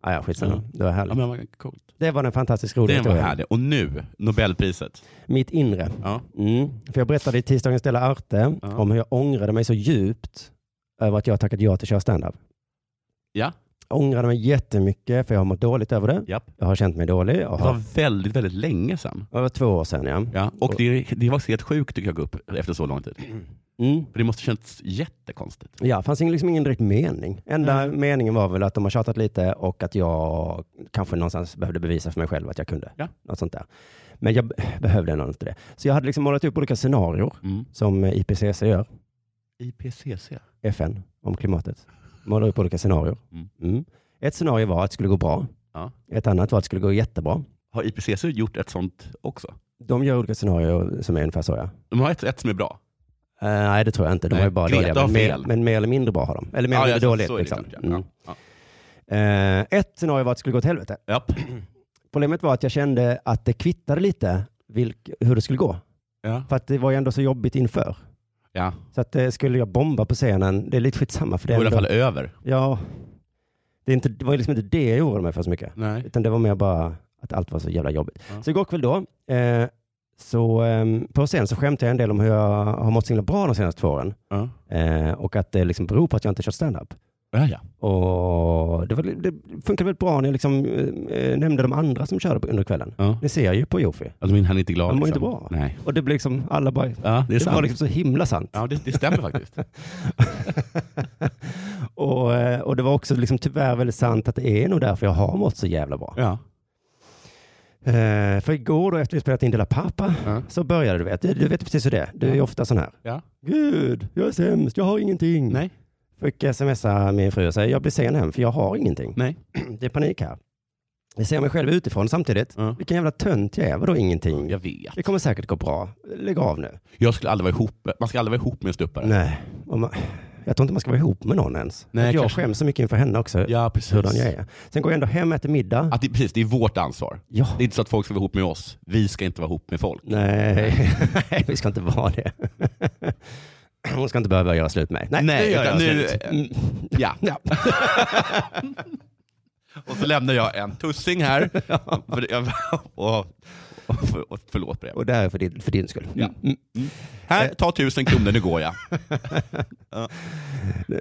Speaker 2: Ah, ja, skitsamma.
Speaker 1: Ja.
Speaker 2: Det var härligt.
Speaker 1: Mm. Ja, men vad coolt.
Speaker 2: Det var en fantastiskt rolig
Speaker 1: Den var
Speaker 2: historia.
Speaker 1: härlig. Och nu, Nobelpriset.
Speaker 2: Mitt inre.
Speaker 1: Ja.
Speaker 2: Mm. För jag berättade i tisdagens Dela Arte
Speaker 1: Ja.
Speaker 2: om hur jag ångrade mig så djupt över att jag tackat ja till att köra standup.
Speaker 1: Ja.
Speaker 2: Jag ångrade mig jättemycket för jag har mått dåligt över det.
Speaker 1: Japp.
Speaker 2: Jag har känt mig dålig. Jag
Speaker 1: Det
Speaker 2: har...
Speaker 1: var väldigt, väldigt länge sedan.
Speaker 2: Det var två år sedan ja.
Speaker 1: Ja. Och det, det var helt sjukt tycker jag, att gå upp efter så lång tid.
Speaker 2: Mm.
Speaker 1: För det måste känts jättekonstigt.
Speaker 2: Ja, fanns ingen- liksom ingen direkt mening. Enda meningen var väl att de har tjatat lite och att jag kanske någonstans behövde bevisa för mig själv att jag kunde.
Speaker 1: Ja.
Speaker 2: Något sånt där. Men jag be- behövde ändå inte det. Så jag hade liksom målat upp olika scenarier
Speaker 1: Mm.
Speaker 2: som eh, IPCC gör.
Speaker 1: IPCC.
Speaker 2: FN om klimatet. Målar upp olika scenarier.
Speaker 1: Mm.
Speaker 2: Mm. Ett scenario var att det skulle gå bra.
Speaker 1: Ja.
Speaker 2: Ett annat var att det skulle gå jättebra.
Speaker 1: Har IPCC gjort ett sånt också?
Speaker 2: De gör olika scenarier som är ungefär så ja.
Speaker 1: De har ett, ett som är bra.
Speaker 2: Eh, nej, det tror jag inte. De
Speaker 1: Nej,
Speaker 2: har ju bara
Speaker 1: Greta
Speaker 2: dåliga.
Speaker 1: har
Speaker 2: Men mer,
Speaker 1: fel.
Speaker 2: men mer eller mindre bra har de. Eller mer eller
Speaker 1: ja,
Speaker 2: mindre
Speaker 1: så-
Speaker 2: dåligt.
Speaker 1: så är det
Speaker 2: liksom.
Speaker 1: klart,
Speaker 2: Mm.
Speaker 1: Ja.
Speaker 2: Eh, ett scenario var att det skulle gå åt helvete.
Speaker 1: Ja. Japp.
Speaker 2: Problemet var att jag kände att det kvittade lite vilk, hur det skulle gå.
Speaker 1: Ja.
Speaker 2: För att det var ju ändå så jobbigt inför.
Speaker 1: Ja.
Speaker 2: Så att eh, skulle jag bomba på scenen, det är lite skitsamma för
Speaker 1: Det
Speaker 2: det.
Speaker 1: går
Speaker 2: är
Speaker 1: i alla
Speaker 2: ändå-
Speaker 1: fall över.
Speaker 2: Ja. Det, är inte, det var ju liksom inte det jag oroade mig för så mycket.
Speaker 1: Nej.
Speaker 2: Utan det var mer bara att allt var så jävla jobbigt.
Speaker 1: Ja.
Speaker 2: Så igår kväll då, eh, så eh, på scen så skämtade jag en del om hur jag har mått så himla bra de senaste två åren.
Speaker 1: Ja.
Speaker 2: Eh, och att det liksom beror på att jag inte kört standup.
Speaker 1: Ja, ja.
Speaker 2: Och det, var, det funkade väldigt bra när jag liksom, eh, nämnde de andra som körde på- under kvällen.
Speaker 1: ja.
Speaker 2: Ni ser ju på Jofi.
Speaker 1: Alltså, min, han är inte glad.
Speaker 2: Han mår
Speaker 1: liksom.
Speaker 2: inte bra.
Speaker 1: Nej.
Speaker 2: Och det blev liksom, alla bara, det,
Speaker 1: Ja, det är sant.
Speaker 2: var liksom så himla sant.
Speaker 1: Ja, det, det stämmer faktiskt.
Speaker 2: och, eh, och det var också liksom tyvärr väldigt sant att det är nog därför jag har mått så jävla bra.
Speaker 1: Ja.
Speaker 2: Eh, för igår då efter vi spelat in Dela Pappa
Speaker 1: Ja.
Speaker 2: så började du vet, du, du vet precis hur det är. Du är ofta sån här.
Speaker 1: Ja.
Speaker 2: Gud, jag är sämst, jag har ingenting.
Speaker 1: Nej.
Speaker 2: Fick smsa min fru och säga, jag blir sen hem för jag har ingenting.
Speaker 1: Nej.
Speaker 2: Det är panik här. Jag ser mig själv utifrån samtidigt.
Speaker 1: Ja.
Speaker 2: Vilken jävla tönt jag är, vadå ingenting?
Speaker 1: Jag vet.
Speaker 2: Det kommer säkert gå bra. Lägg av nu.
Speaker 1: Jag skulle aldrig vara ihop. Man ska aldrig vara ihop med en ståuppare.
Speaker 2: Nej, och man, jag tror inte man ska vara ihop med någon ens.
Speaker 1: Nej,
Speaker 2: Att jag
Speaker 1: kanske.
Speaker 2: skäms så mycket inför henne också,
Speaker 1: Ja, precis.
Speaker 2: hurdan jag är. Sen går jag ändå hem, äter middag.
Speaker 1: Att det, precis, det är vårt ansvar.
Speaker 2: Ja.
Speaker 1: Det är inte så att folk ska vara ihop med oss. Vi ska inte vara ihop med folk.
Speaker 2: Nej, Nej, vi ska inte vara det. Hon ska inte behöva göra slut med mig.
Speaker 1: Nej,
Speaker 2: nu gör
Speaker 1: utan
Speaker 2: jag
Speaker 1: nu-
Speaker 2: slut. Mm.
Speaker 1: Ja.
Speaker 2: Ja.
Speaker 1: Och så lämnar jag en tussing här. För, jag, och, och, för, och förlåt brev.
Speaker 2: Och det här är för din, för din skull.
Speaker 1: Ja.
Speaker 2: Mm.
Speaker 1: Här, ta tusen kronor, nu går jag.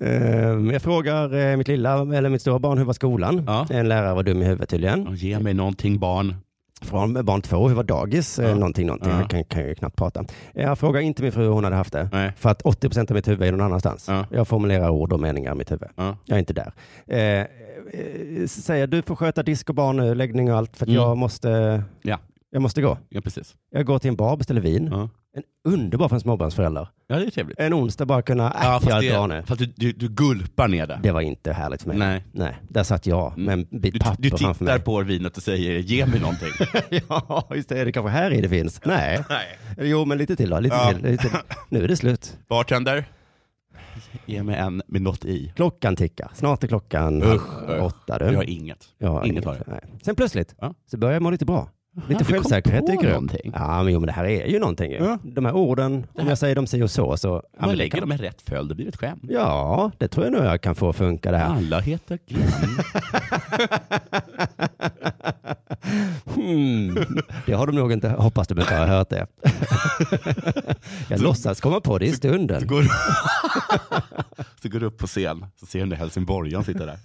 Speaker 2: Ehm, Jag frågar eh, mitt lilla, eller mitt stora barn, hur var skolan?
Speaker 1: Ja.
Speaker 2: En lärare var dum i huvudet tydligen.
Speaker 1: Och Ge mig någonting barn.
Speaker 2: Från barn två, hur var dagis? Ja. Någonting, någonting.
Speaker 1: Ja.
Speaker 2: Han kan, kan ju knappt prata. Eh, Jag frågar inte min fru hur hon hade haft det.
Speaker 1: Nej.
Speaker 2: För att 80 procent av mitt huvud är någon annanstans.
Speaker 1: Ja.
Speaker 2: Jag formulerar ord och meningar i mitt huvud.
Speaker 1: Ja.
Speaker 2: Jag är inte där. Eh, eh, säger du får sköta disk och barnläggning och allt för att
Speaker 1: Mm.
Speaker 2: jag, måste,
Speaker 1: Ja.
Speaker 2: jag måste gå.
Speaker 1: Ja, precis.
Speaker 2: Jag går till en bar och beställer vin.
Speaker 1: Ja.
Speaker 2: En underbar för en småbarnsförälder.
Speaker 1: ja, det är trevligt.
Speaker 2: En onsdag bara kunna, äh,
Speaker 1: Ja,
Speaker 2: jag
Speaker 1: fast,
Speaker 2: drar nu.
Speaker 1: det, fast du, du, du gulpar ner det.
Speaker 2: Det var inte härligt för mig.
Speaker 1: Nej. Mm.
Speaker 2: där satt jag med en bit
Speaker 1: Du,
Speaker 2: papper
Speaker 1: du
Speaker 2: framför mig.
Speaker 1: tittar på vinet och säger ge mig någonting.
Speaker 2: ja, just det. Är det kanske här i det finns? Nej.
Speaker 1: Nej.
Speaker 2: Jo, men lite till då. Lite
Speaker 1: Ja.
Speaker 2: till, lite till. Nu är det slut.
Speaker 1: Bartender, ge mig en med något i.
Speaker 2: Klockan tickar. Snart är klockan
Speaker 1: Usch, usch.
Speaker 2: åtta. Du.
Speaker 1: Jag har inget.
Speaker 2: Jag har
Speaker 1: inget har jag.
Speaker 2: nej. Sen plötsligt
Speaker 1: Ja.
Speaker 2: så börjar jag må lite bra. Lite
Speaker 1: du kom
Speaker 2: självsäkerhet
Speaker 1: på
Speaker 2: dyker upp.
Speaker 1: någonting.
Speaker 2: Ja, men, jo, men det här är ju någonting. ju.
Speaker 1: Ja.
Speaker 2: De här orden, om
Speaker 1: här-
Speaker 2: jag säger dem si och så, så... ja, men
Speaker 1: Man
Speaker 2: det
Speaker 1: lägger
Speaker 2: kan-
Speaker 1: dem i rätt följd, det blir ett skämt.
Speaker 2: Ja, det tror jag nog jag kan få funka det här.
Speaker 1: Alla heter Glenn. Ah,
Speaker 2: Hmm. Det har de nog inte, hoppas de inte har hört det. Jag låtsas komma på det i stunden.
Speaker 1: går, så går du upp på scen, så ser du helsingborgaren sitta där.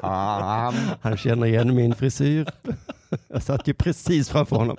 Speaker 1: Fan.
Speaker 2: Han känner igen min frisyr. Jag satt ju precis framför honom.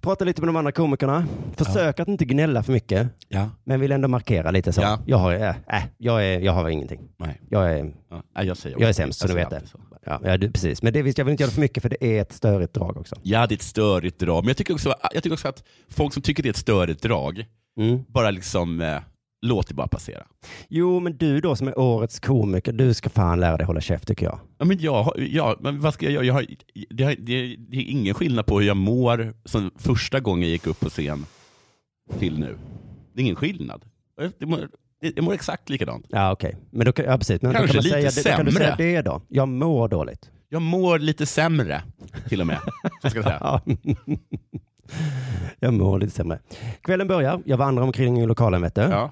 Speaker 2: Prata lite med de andra komikerna. Försök att inte gnälla för mycket,
Speaker 1: Ja,
Speaker 2: men vill ändå markera lite så.
Speaker 1: Ja.
Speaker 2: Jag, har, äh, äh, jag, är, jag har ingenting.
Speaker 1: nej.
Speaker 2: Jag är,
Speaker 1: Ja, nej, jag säger
Speaker 2: jag är sämst, så du
Speaker 1: säger
Speaker 2: vet det.
Speaker 1: alltid så.
Speaker 2: Ja, ja, du, precis. Men det, visst, jag vill inte göra för mycket, för det är ett störigt drag också.
Speaker 1: Ja, det är ett störigt drag. Men jag tycker, också, jag tycker också att folk som tycker det är ett störigt drag,
Speaker 2: Mm.
Speaker 1: bara liksom, eh, låt det bara passera.
Speaker 2: Jo, men du då som är årets komiker, du ska fan lära dig hålla käft tycker jag.
Speaker 1: Ja, men jag, har- ja, men vad ska jag göra? Jag har, det, har- det, det är ingen skillnad på hur jag mår sen första gången jag gick upp på scen till nu. Det är ingen skillnad. Jag, jag, mår, jag mår exakt likadant.
Speaker 2: Ja, okej. Men då kan, ja, precis. Men då
Speaker 1: Kanske
Speaker 2: kan man
Speaker 1: lite
Speaker 2: säga, det- Då kan du säga
Speaker 1: sämre.
Speaker 2: det då. Jag mår dåligt.
Speaker 1: Jag mår lite sämre, till och med. Så ska jag säga.
Speaker 2: Ja. jag mår lite sämre. Kvällen börjar. Jag vandrar omkring i lokalen, vet du.
Speaker 1: Ja.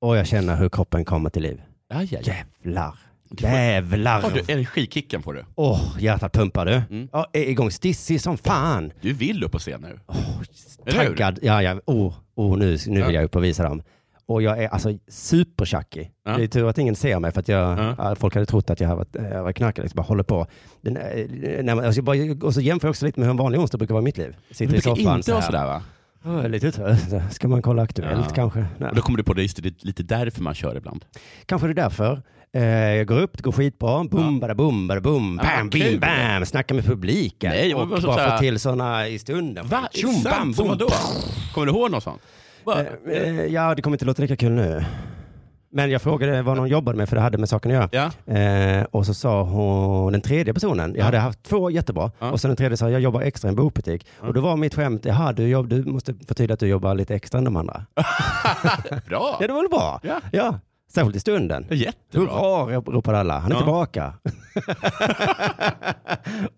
Speaker 2: Och jag känner hur kroppen kommer till liv.
Speaker 1: Ja, ja, ja.
Speaker 2: Jävlar. Jävlar!
Speaker 1: Har du Mm. energikicken får du.
Speaker 2: Åh, hjärtat pumpar du. Ja, är igång stissig som fan.
Speaker 1: Du vill upp på scen nu. Eller hur?
Speaker 2: Taggad. Ja, ja. Oh, oh, nu, nu vill jag upp och visa dem. Och jag är alltså supertjackig.
Speaker 1: Ja.
Speaker 2: Det är tur att ingen ser mig för att jag,
Speaker 1: Ja.
Speaker 2: ja, folk hade trott att jag var, jag var knarkare. Liksom bara håller på. Den, eh, när man, alltså, jag bara, och så jämför jag också lite med hur en vanlig onsdag brukar vara i mitt liv.
Speaker 1: Du
Speaker 2: Sitter i
Speaker 1: brukar
Speaker 2: soffan
Speaker 1: inte
Speaker 2: så
Speaker 1: vara
Speaker 2: här.
Speaker 1: sådär va?
Speaker 2: "Åh, jag är lite trött. Ska man kolla Aktuellt
Speaker 1: Ja.
Speaker 2: kanske? Nej.
Speaker 1: Och då kommer du på det, just det, det är lite därför man kör ibland.
Speaker 2: Kanske det är därför. Eh, jag går upp, det går skitbra. Boom, bada boom, bada boom.
Speaker 1: Ja,
Speaker 2: Bam,
Speaker 1: vad kul.
Speaker 2: bim, bam. Snackar med publiken.
Speaker 1: Nej,
Speaker 2: och
Speaker 1: men
Speaker 2: bara
Speaker 1: så här-
Speaker 2: få till sådana i stunden.
Speaker 1: Va?
Speaker 2: Tjum,
Speaker 1: Sant?
Speaker 2: bam,
Speaker 1: Som
Speaker 2: boom.
Speaker 1: vadå? Kommer du ihåg något sånt? Va?
Speaker 2: Eh, eh, ja, det kommer inte låta lika kul nu. Men jag frågade vad någon jobbade med, för det hade med saken att
Speaker 1: Ja.
Speaker 2: göra. Eh, och så sa hon, den tredje personen, jag hade haft två jättebra,
Speaker 1: Ja.
Speaker 2: och sen den tredje sa jag jobbar extra i en bokbutik. Och då var mitt skämt, jaha, du, jobb, du måste förtydliga att du jobbar lite extra än de andra.
Speaker 1: Bra!
Speaker 2: Ja, det var väl bra?
Speaker 1: Ja.
Speaker 2: ja. Särskilt i stunden.
Speaker 1: Jättebra.
Speaker 2: Hurra, rop- ropade alla. Han är
Speaker 1: Ja.
Speaker 2: tillbaka.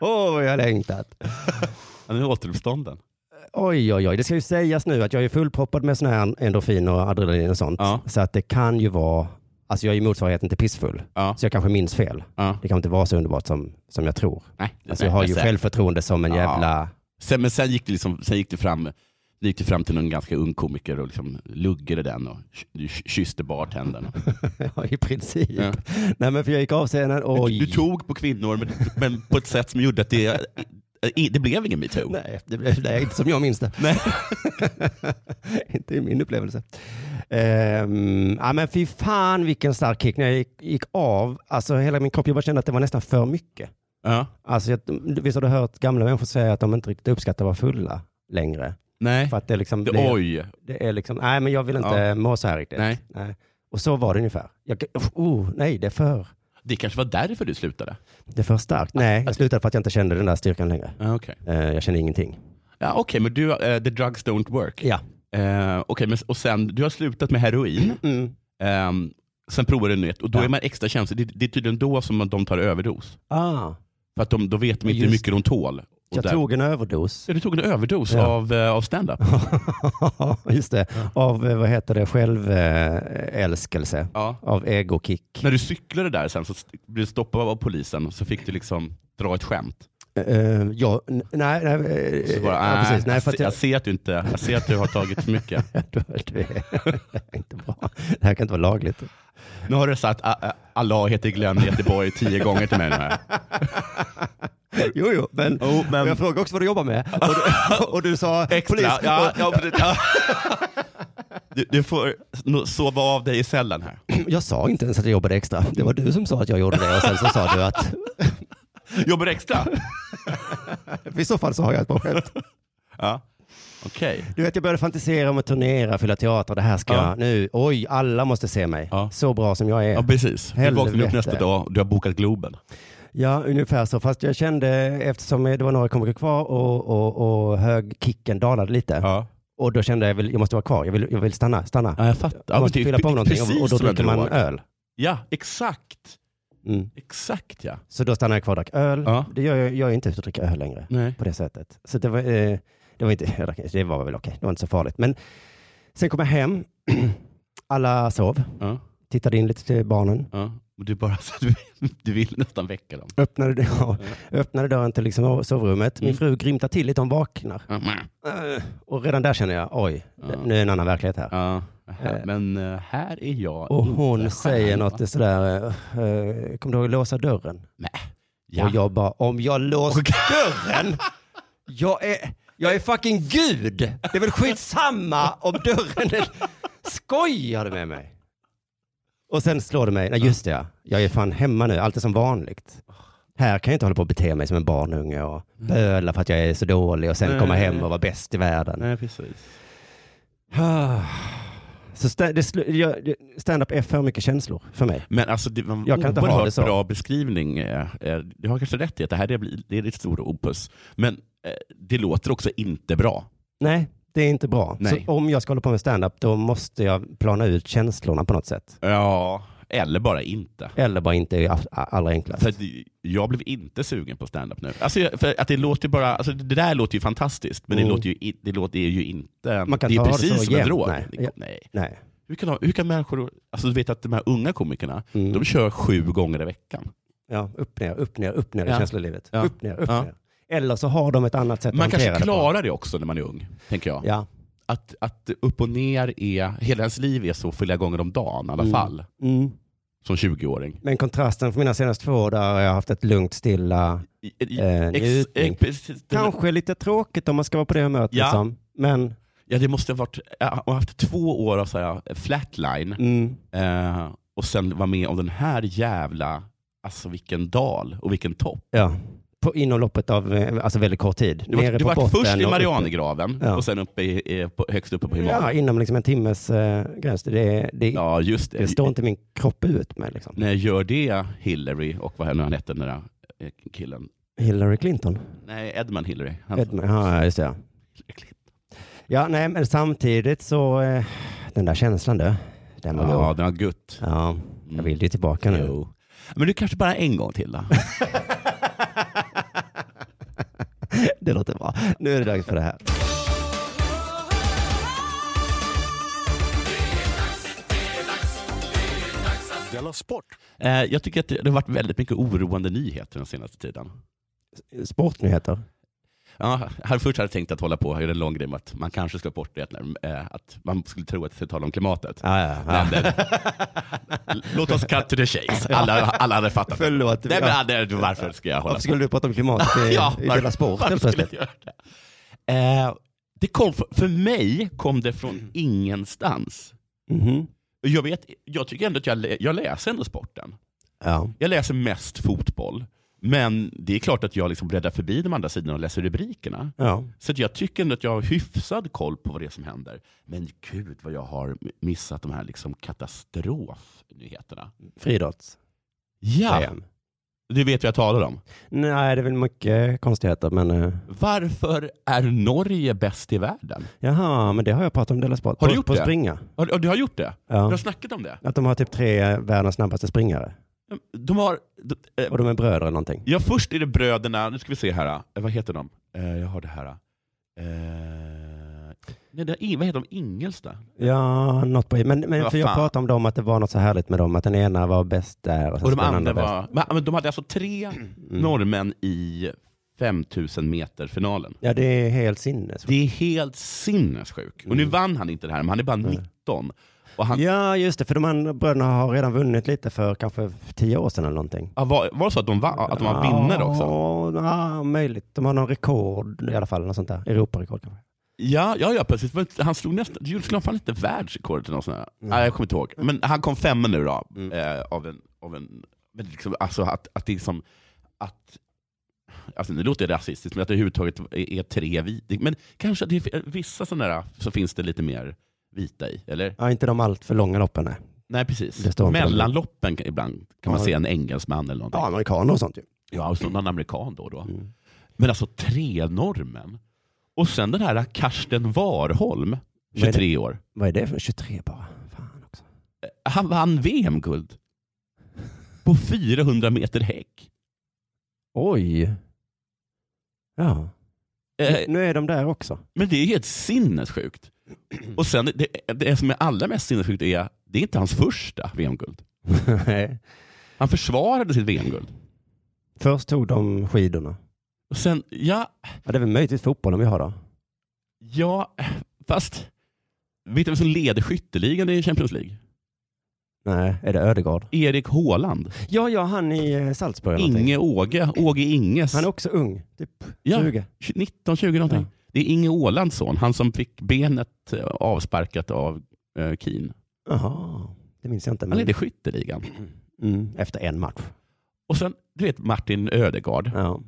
Speaker 2: Åh, vad jag har längtat.
Speaker 1: Han är återuppstånden.
Speaker 2: Oj, oj, oj. Det ska ju sägas nu att jag är fullproppad med sådana här endorfiner och adrenalin och sånt.
Speaker 1: Ja.
Speaker 2: Så att det kan ju vara, alltså jag är ju motsvarigheten till pissfull.
Speaker 1: Ja.
Speaker 2: Så jag kanske minns fel.
Speaker 1: Ja.
Speaker 2: Det kan inte vara så underbart som, som jag tror.
Speaker 1: Nej,
Speaker 2: Alltså jag har
Speaker 1: nej,
Speaker 2: ju
Speaker 1: sen-
Speaker 2: självförtroende som en
Speaker 1: Ja.
Speaker 2: jävla...
Speaker 1: Sen, men sen gick det, liksom, sen gick det fram det gick det fram till någon ganska ung komiker och liksom luggade den och ky- ky- kysste bartendern.
Speaker 2: Ja, i princip.
Speaker 1: Ja.
Speaker 2: Nej, men för jag gick av scenen och...
Speaker 1: Du tog på kvinnor men, men på ett sätt som gjorde att det, i- det blev ingen metoo.
Speaker 2: Nej, det blev, nej, inte som jag minns det. inte i min upplevelse. Ehm, ja, men fy fan vilken stark kick. När jag gick, gick av, alltså hela min kropp, jag bara kände att det var nästan för mycket.
Speaker 1: Ja.
Speaker 2: Alltså, jag, visst har du hört gamla människor säga att de inte riktigt uppskattar att vara fulla längre?
Speaker 1: Nej.
Speaker 2: För att det liksom
Speaker 1: Det,
Speaker 2: blir,
Speaker 1: oj.
Speaker 2: det är liksom, nej men jag vill inte
Speaker 1: Ja.
Speaker 2: må så här riktigt.
Speaker 1: Nej.
Speaker 2: Och så var det ungefär. Jag, oh, nej, det är för,
Speaker 1: Det kanske var därför du slutade?
Speaker 2: det är för starkt. Nej, jag slutade för att jag inte kände den där styrkan längre.
Speaker 1: Ja, okej.
Speaker 2: Eh, jag kände ingenting.
Speaker 1: Ja, okej, men du, eh, the drugs don't work.
Speaker 2: Ja.
Speaker 1: Eh, okej, men, och sen, du har slutat med heroin,
Speaker 2: Mm.
Speaker 1: Ehm, sen provar du nytt och då
Speaker 2: Ja.
Speaker 1: är man extra känslig. Det, det är tydligen då som de tar överdos.
Speaker 2: Ah.
Speaker 1: För att de, då vet de inte hur
Speaker 2: Just
Speaker 1: mycket de tål. Och
Speaker 2: Jag
Speaker 1: där-
Speaker 2: tog en överdos.
Speaker 1: Ja, du tog en överdos
Speaker 2: Ja.
Speaker 1: av, eh, av stand-up.
Speaker 2: Just det. Av, eh, vad heter det, självälskelse.
Speaker 1: Ja.
Speaker 2: Av egokick.
Speaker 1: När du cyklade där sen så st- blev du stoppad av polisen och så fick du liksom dra ett skämt.
Speaker 2: Eh, ja, n- nej, nej. eh,
Speaker 1: Så bara,
Speaker 2: ja,
Speaker 1: "Ah,
Speaker 2: precis. Nej,
Speaker 1: jag,
Speaker 2: för att
Speaker 1: se- jag
Speaker 2: jag...
Speaker 1: ser att du inte, jag ser att du har tagit för mycket.
Speaker 2: Du- du är- det är inte bra. Det här kan inte vara lagligt.
Speaker 1: Nu har du sagt "Ah, ah, Allah heter Glenn i Göteborg tio gånger till mig nu här.
Speaker 2: Jo, jo, men,
Speaker 1: Jo, Oh, men-
Speaker 2: och jag frågade också vad du jobbar med. Och du, och du sa
Speaker 1: Extra.
Speaker 2: polis.
Speaker 1: Ja, ja, precis. ja. Du, du får no- sova av dig i cellen här.
Speaker 2: Jag sa inte ens att jag jobbade extra. Det var du som sa att jag gjorde det och sen så sa du att
Speaker 1: Jobbar du extra?
Speaker 2: i så fall så har jag ett bra skämt.
Speaker 1: Ja. Okej.
Speaker 2: Du vet, jag började fantisera om att turnera, fylla teater. Det här ska
Speaker 1: Ja.
Speaker 2: jag nu. Oj, alla måste se mig.
Speaker 1: Ja.
Speaker 2: Så bra som jag är.
Speaker 1: Ja,
Speaker 2: Ja,
Speaker 1: precis. Du vaknade upp
Speaker 2: Helvete.
Speaker 1: nästa dag och du har bokat Globen.
Speaker 2: ungefär så. Fast jag kände, eftersom det var några komiker kvar och, och, och högkicken dalade lite.
Speaker 1: Ja.
Speaker 2: Och då kände jag, jag, vill, jag måste vara kvar. Jag vill, jag vill stanna, stanna.
Speaker 1: ja jag fattar. Ja,
Speaker 2: jag
Speaker 1: men
Speaker 2: måste
Speaker 1: det är
Speaker 2: fylla på med någonting
Speaker 1: precis
Speaker 2: och, och då
Speaker 1: som en
Speaker 2: dricker man
Speaker 1: drog.
Speaker 2: öl.
Speaker 1: Ja, exakt.
Speaker 2: Mm.
Speaker 1: Exakt ja.
Speaker 2: Så då stannar jag kvar och drack öl.
Speaker 1: Ja. Mm.
Speaker 2: Det gör jag, jag är inte ute och dricker öl längre
Speaker 1: Nej.
Speaker 2: på det sättet. Så det var, eh, det var, inte, jag drack- det var väl okej, det var inte så farligt. Men sen kom jag hem, alla sov,
Speaker 1: Ja,
Speaker 2: tittade in lite till barnen.
Speaker 1: ja. Och du bara så att du, du vill nästan väcka dem.
Speaker 2: Öppnade, ja,
Speaker 1: Mm.
Speaker 2: öppnade dörren till liksom sovrummet. Min fru grymtar till lite, hon vaknar. Eh, Och redan där känner jag, oj,
Speaker 1: Ja.
Speaker 2: nu är en annan verklighet här.
Speaker 1: Ja. Men eh, här är jag
Speaker 2: Och
Speaker 1: inte
Speaker 2: hon
Speaker 1: själv,
Speaker 2: säger
Speaker 1: va?
Speaker 2: något sådär, eh, eh, kommer du ihåg låsa dörren?
Speaker 1: Ja.
Speaker 2: Och jag bara, om jag låser dörren? Jag är, jag är fucking gud! Det är väl skitsamma om dörren är... Skojar du med mig? Och sen slår det mig, nej just det ja, jag är fan hemma nu, allt är som vanligt. Här kan jag inte hålla på och bete mig som en barnunge och böla för att jag är så dålig och sen
Speaker 1: Mm. Nej.
Speaker 2: komma hem och vara bäst i världen.
Speaker 1: Nej, precis.
Speaker 2: Så sta- det slu- jag- det- stand-up är för mycket känslor för mig.
Speaker 1: Men alltså, det var en
Speaker 2: Jag kan inte ha
Speaker 1: oerhört
Speaker 2: det så.
Speaker 1: bra beskrivning. eh, eh, Du har kanske rätt i att det här det blir- det är ditt stora opus. Men eh, det låter också inte bra.
Speaker 2: Nej, det är inte bra.
Speaker 1: Nej.
Speaker 2: Så om jag ska hålla på med stand-up då måste jag plana ut känslorna på något sätt.
Speaker 1: Ja, eller bara inte.
Speaker 2: Eller bara inte i all- allra enklast.
Speaker 1: För att jag blev inte sugen på stand-up nu. Alltså, jag- för att det, låter ju bara, alltså, det där låter ju fantastiskt, men det,
Speaker 2: Mm.
Speaker 1: låter ju, i- det låter det är ju inte...
Speaker 2: Man kan
Speaker 1: det är
Speaker 2: ta det
Speaker 1: precis
Speaker 2: så
Speaker 1: som en
Speaker 2: jämnt,
Speaker 1: drog.
Speaker 2: nej.
Speaker 1: Nej. Nej.
Speaker 2: Nej.
Speaker 1: Hur kan, de- hur kan människor... Alltså du vet att de här unga komikerna,
Speaker 2: Mm.
Speaker 1: de kör sju gånger i veckan.
Speaker 2: Ja, upp, ner, upp, ner, upp, ner i
Speaker 1: Ja.
Speaker 2: känslolivet.
Speaker 1: Ja.
Speaker 2: Upp, ner, upp,
Speaker 1: Ja.
Speaker 2: ner. Eller så har de ett annat sätt
Speaker 1: Man
Speaker 2: att hantera
Speaker 1: kanske klarar det också när man är ung, tänker jag.
Speaker 2: det på. Ja.
Speaker 1: Att, att upp och ner är... Hela ens liv är så flera gånger om dagen i alla
Speaker 2: Mm.
Speaker 1: fall,
Speaker 2: Mm.
Speaker 1: som 20-åring.
Speaker 2: Men kontrasten från mina senaste två år där har jag haft ett lugnt, stilla,
Speaker 1: I- i-
Speaker 2: eh,
Speaker 1: ex-
Speaker 2: njutning.
Speaker 1: ex- precis.
Speaker 2: Kanske lite tråkigt om man ska vara på det humöret.
Speaker 1: Ja.
Speaker 2: Liksom. Men
Speaker 1: Ja, det måste ha varit... Jag har haft två år av så här, flatline.
Speaker 2: mm,
Speaker 1: Eh, och sen vara med om den här jävla, alltså vilken dal och vilken topp.
Speaker 2: ja. på, inom loppet av eh, alltså väldigt kort tid.
Speaker 1: Du var,
Speaker 2: Nere
Speaker 1: du
Speaker 2: på
Speaker 1: var
Speaker 2: botten
Speaker 1: först i
Speaker 2: och uppe.
Speaker 1: Marianergraven
Speaker 2: Ja.
Speaker 1: och sen uppe i, eh, på, högst uppe på
Speaker 2: Ja,
Speaker 1: Himalaya.
Speaker 2: inom liksom en timmes eh, gräns. Det, det,
Speaker 1: Ja, just det.
Speaker 2: det står inte min kropp ut med. Liksom.
Speaker 1: När jag gör det, Hillary och vad nu han hette den där eh, killen?
Speaker 2: Hillary Clinton.
Speaker 1: Nej, Edmund Hillary. Han,
Speaker 2: Edmund, ja, just det. Ja. Ja, nej, men samtidigt så, eh, den där känslan du, den var
Speaker 1: Ja,
Speaker 2: god.
Speaker 1: den har gutt. Mm.
Speaker 2: Ja, jag vill ju tillbaka nu.
Speaker 1: Jo. Men du kanske bara en gång till då?
Speaker 2: Det låter bra. Nu är det dags för det här.
Speaker 3: Della Sport!
Speaker 1: Eh, jag tycker att det, det har varit väldigt mycket oroande nyheter den senaste tiden.
Speaker 2: Sportnyheter.
Speaker 1: Ja, här först hade jag tänkt att hålla på och göra en lång grej med att man kanske ska bort det, när, eh, att man skulle tro att det talar om klimatet.
Speaker 2: Ja, ja, ja.
Speaker 1: Men, eh, Låt oss cut to the chase. Alla, alla hade fattat. det.
Speaker 2: Förlåt.
Speaker 1: Nej,
Speaker 2: Ja.
Speaker 1: men, eh, varför ska jag hålla
Speaker 2: Varför skulle du prata om klimatet i,
Speaker 1: Ja,
Speaker 2: i
Speaker 1: varför-
Speaker 2: Della Sport
Speaker 1: varför
Speaker 2: helt
Speaker 1: skulle
Speaker 2: plötsligt?
Speaker 1: jag göra det? Eh, det kom, för, för mig kom det
Speaker 2: Mm.
Speaker 1: från ingenstans.
Speaker 2: Mhm.
Speaker 1: Och Jag, vet, jag tycker ändå att jag, lä- jag läser ändå sporten.
Speaker 2: Ja.
Speaker 1: Jag läser mest fotboll. Men det är klart att jag liksom bläddrar förbi de andra sidorna och läser rubrikerna.
Speaker 2: ja.
Speaker 1: Så att jag tycker ändå att jag har hyfsad koll på vad det är som händer. Men gud vad jag har missat de här liksom katastrofnyheterna.
Speaker 2: Friidrotts.
Speaker 1: Ja,
Speaker 2: VM.
Speaker 1: du vet vad jag talar om.
Speaker 2: Nej, det är väl mycket konstigheter, men eh,
Speaker 1: Varför är Norge bäst i världen?
Speaker 2: jaha, men det har jag pratat om i Della Sport.
Speaker 1: Har du
Speaker 2: på,
Speaker 1: gjort
Speaker 2: på
Speaker 1: det?
Speaker 2: springa.
Speaker 1: Ja, du- Du har gjort det? Du
Speaker 2: Ja.
Speaker 1: har snackat om det?
Speaker 2: Att de har typ tre eh, världens snabbaste springare.
Speaker 1: De har... De, eh,
Speaker 2: Och de är bröder eller någonting.
Speaker 1: ja, först är det bröderna, nu ska vi se här, eh, vad heter de? Eh, jag har det här. Eh, nej, det är, ing- vad heter de? Ingelsta?
Speaker 2: Ja, något på Men, men
Speaker 1: Vad
Speaker 2: för jag
Speaker 1: fan.
Speaker 2: pratade om dem att det var något så härligt med dem, att den ena var bäst där och, sen
Speaker 1: Och
Speaker 2: så
Speaker 1: de
Speaker 2: den
Speaker 1: andra
Speaker 2: bäst.
Speaker 1: var... Men, men de hade alltså tre norrmän i 5000 meter-finalen.
Speaker 2: Ja, det är helt sinnes.
Speaker 1: Det är helt sinnessjuk. Och nu
Speaker 2: Mm.
Speaker 1: vann han inte det här, men han är bara 19. Och han,
Speaker 2: Ja, just det, för de andra bröderna har redan vunnit lite för kanske tio år sedan eller någonting.
Speaker 1: ja, var, var det så att de, vann, att de var vinnare också?
Speaker 2: Ja, Ja, möjligt. De har någon rekord i alla fall, något sånt där. Europarekord kanske.
Speaker 1: Ja, ja, ja precis. Men Han slog nästan, Jules slog fan inte världsrekordet eller något sånt där. Nej, jag kommer inte ihåg. Men han kom femma nu då.
Speaker 2: Mm.
Speaker 1: Eh, av en, av en, men liksom, alltså att, att det är som, att, alltså nu låter det rasistiskt, men att det överhuvudtaget är, är tre vita. Men kanske att det är vissa sådana där, så finns det lite mer vita i, eller?
Speaker 2: Ja, inte de allt för långa loppen, nej.
Speaker 1: Nej, precis.
Speaker 2: Det står inte.
Speaker 1: Mellanloppen kan- ibland kan man
Speaker 2: Ja.
Speaker 1: se en engelsman eller någonting.
Speaker 2: Ja, amerikaner och sånt ju. Mm.
Speaker 1: Ja, och så någon amerikan då och då. Men alltså tre norrmän. Och sen den här Karsten Warholm,
Speaker 2: är det?
Speaker 1: 23 år.
Speaker 2: Vad är det för 23 bara? Fan också.
Speaker 1: Han vann VM-guld. På 400 meter häck.
Speaker 2: Oj. Ja,
Speaker 1: Eh,
Speaker 2: nu är de där också.
Speaker 1: men det är helt sinnessjukt. Och sen det, det som är allra mest sinnessjukt är, det är inte hans första VM-guld.
Speaker 2: Nej.
Speaker 1: Han försvarade sitt VM-guld.
Speaker 2: Först tog de skidorna.
Speaker 1: Och sen, ja,
Speaker 2: Ja, det är väl möjligtvis fotbollen vi har då.
Speaker 1: ja, fast vet du vem som leder skytteligan i Champions League?
Speaker 2: Nej, är det Ödegård?
Speaker 1: Erik Haaland.
Speaker 2: Ja, ja, han i eh, Salzburg eller någonting.
Speaker 1: Inge Åge, Åge Inges.
Speaker 2: Han är också ung, typ
Speaker 1: Ja.
Speaker 2: 20.
Speaker 1: 19, 20 någonting.
Speaker 2: Ja.
Speaker 1: Det är Inge Ålands son, han som fick benet eh, avsparkat av eh, Keen.
Speaker 2: Jaha, det minns jag inte.
Speaker 1: Han
Speaker 2: Men...
Speaker 1: ledde skytteligan.
Speaker 2: Mm, efter en match.
Speaker 1: Och sen, du vet Martin Ödegard.
Speaker 2: Ja.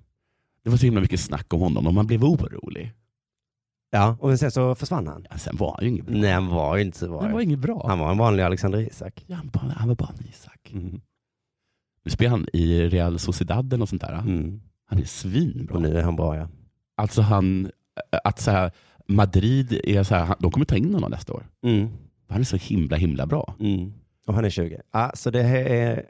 Speaker 1: Det var så himla mycket snack om honom och man blev orolig.
Speaker 2: ja, och sen så försvann han.
Speaker 1: Ja, sen var han ju inget bra.
Speaker 2: Nej, han var ju inte så bra.
Speaker 1: Han var inget bra.
Speaker 2: Han var en vanlig Alexander Isak.
Speaker 1: Ja, Han, bara, han var bara en Isak.
Speaker 2: Mm.
Speaker 1: Nu spelar han i Real Sociedad eller något sånt där.
Speaker 2: Mm.
Speaker 1: Han är
Speaker 2: Och
Speaker 1: svinbra.
Speaker 2: nu är han bra ja.
Speaker 1: Alltså han, att så här, Madrid är så här, de kommer ta in honom nästa år.
Speaker 2: Mm.
Speaker 1: Han är så himla himla bra.
Speaker 2: Mm. Och han är 20. Ja, så det här är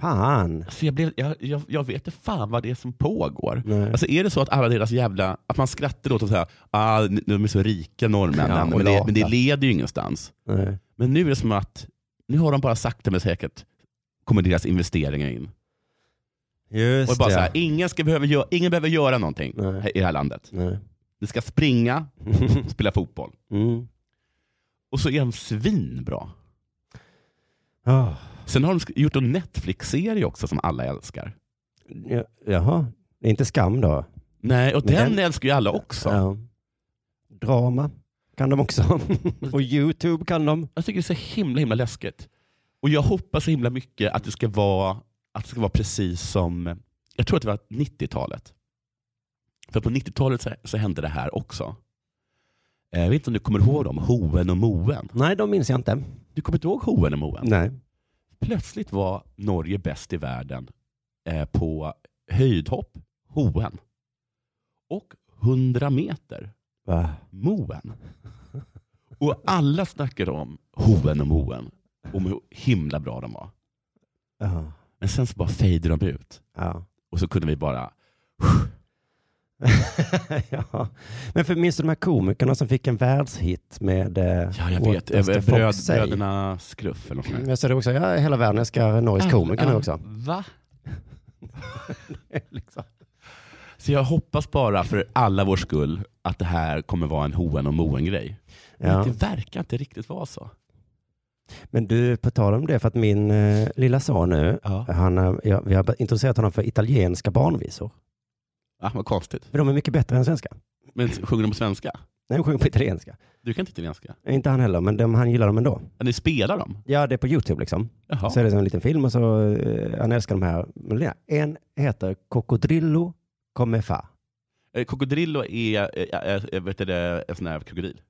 Speaker 2: Fan.
Speaker 1: Alltså jag, blev, jag, jag, jag vet inte fan vad det är som pågår.
Speaker 2: Nej.
Speaker 1: Alltså är det så att alla deras jävla, att man skrattar åt att säga, ah, ni- de är så rika
Speaker 2: Ja,
Speaker 1: norrmännen,
Speaker 2: och
Speaker 1: men, det, men det
Speaker 2: lata.
Speaker 1: leder ju ingenstans.
Speaker 2: Nej.
Speaker 1: Men nu är det som att, nu har de bara sakta men säkert kommer deras investeringar in.
Speaker 2: Just
Speaker 1: Och bara
Speaker 2: det.
Speaker 1: så här, ingen, ska behöva göra, ingen behöver göra någonting
Speaker 2: Nej.
Speaker 1: här- i det här landet.
Speaker 2: Nej.
Speaker 1: Ni ska springa, spela fotboll.
Speaker 2: mm.
Speaker 1: Och så är de svinbra.
Speaker 2: Ah.
Speaker 1: Sen har de sk- gjort en Netflix-serie också som alla älskar.
Speaker 2: Ja, Jaha, det är inte skam då?
Speaker 1: Nej, och
Speaker 2: Men
Speaker 1: den,
Speaker 2: den-
Speaker 1: älskar ju alla också.
Speaker 2: Ja. Drama kan de också. och YouTube kan de.
Speaker 1: Jag tycker det är så himla himla läskigt. Och jag hoppas så himla mycket att det ska vara, att det ska vara precis som, jag tror att det var 90-talet. För på 90-talet så, så hände det här också. Eh, Jag vet inte om du kommer ihåg dem, Hoen och Moen.
Speaker 2: Nej, de minns jag inte.
Speaker 1: Du kommer inte ihåg Hoen och Moen?
Speaker 2: Nej.
Speaker 1: Plötsligt var Norge bäst i världen eh, på höjdhopp, Hoen, och 100 meter,
Speaker 2: Va?
Speaker 1: Moen. Och alla snackade om Hoen och Moen, om hur himla bra de var.
Speaker 2: Ja.
Speaker 1: Men sen så bara fejde de ut.
Speaker 2: Ja.
Speaker 1: Och så kunde vi bara...
Speaker 2: ja. Men för minns du de här komikerna som fick en världshit med... eh,
Speaker 1: Ja, jag
Speaker 2: What
Speaker 1: vet.
Speaker 2: does the
Speaker 1: eh,
Speaker 2: fox
Speaker 1: Bröd,
Speaker 2: say?
Speaker 1: bröderna Skruff eller något sånt
Speaker 2: Mm,
Speaker 1: där.
Speaker 2: Jag ser det också. Ja, hela världen älskar Norges komiker nu
Speaker 1: Ah,
Speaker 2: också.
Speaker 1: Va?
Speaker 2: liksom.
Speaker 1: Så jag hoppas bara för alla vår skull att det här kommer vara en hoen och moen grej.
Speaker 2: Ja.
Speaker 1: Men det verkar inte riktigt vara så.
Speaker 2: Men du, på tal om det, för att min eh, lilla son nu,
Speaker 1: Ja.
Speaker 2: han, har- jag, vi har intresserat honom för italienska barnvisor.
Speaker 1: Ah, vad konstigt.
Speaker 2: För de är mycket bättre än svenska.
Speaker 1: Men sjunger de på svenska?
Speaker 2: Nej, de sjunger på italienska.
Speaker 1: Du kan inte italienska?
Speaker 2: Inte han heller, men de, han gillar dem ändå.
Speaker 1: Ja, Ni spelar dem?
Speaker 2: Ja, det är på YouTube liksom.
Speaker 1: Jaha.
Speaker 2: Så är det som en liten film och så, eh, han älskar de här. Men det- En heter Cocodrillo Come Fa.
Speaker 1: Eh, Krokodillo är eh, eh, eh, vet du, det, en sån här krokodil.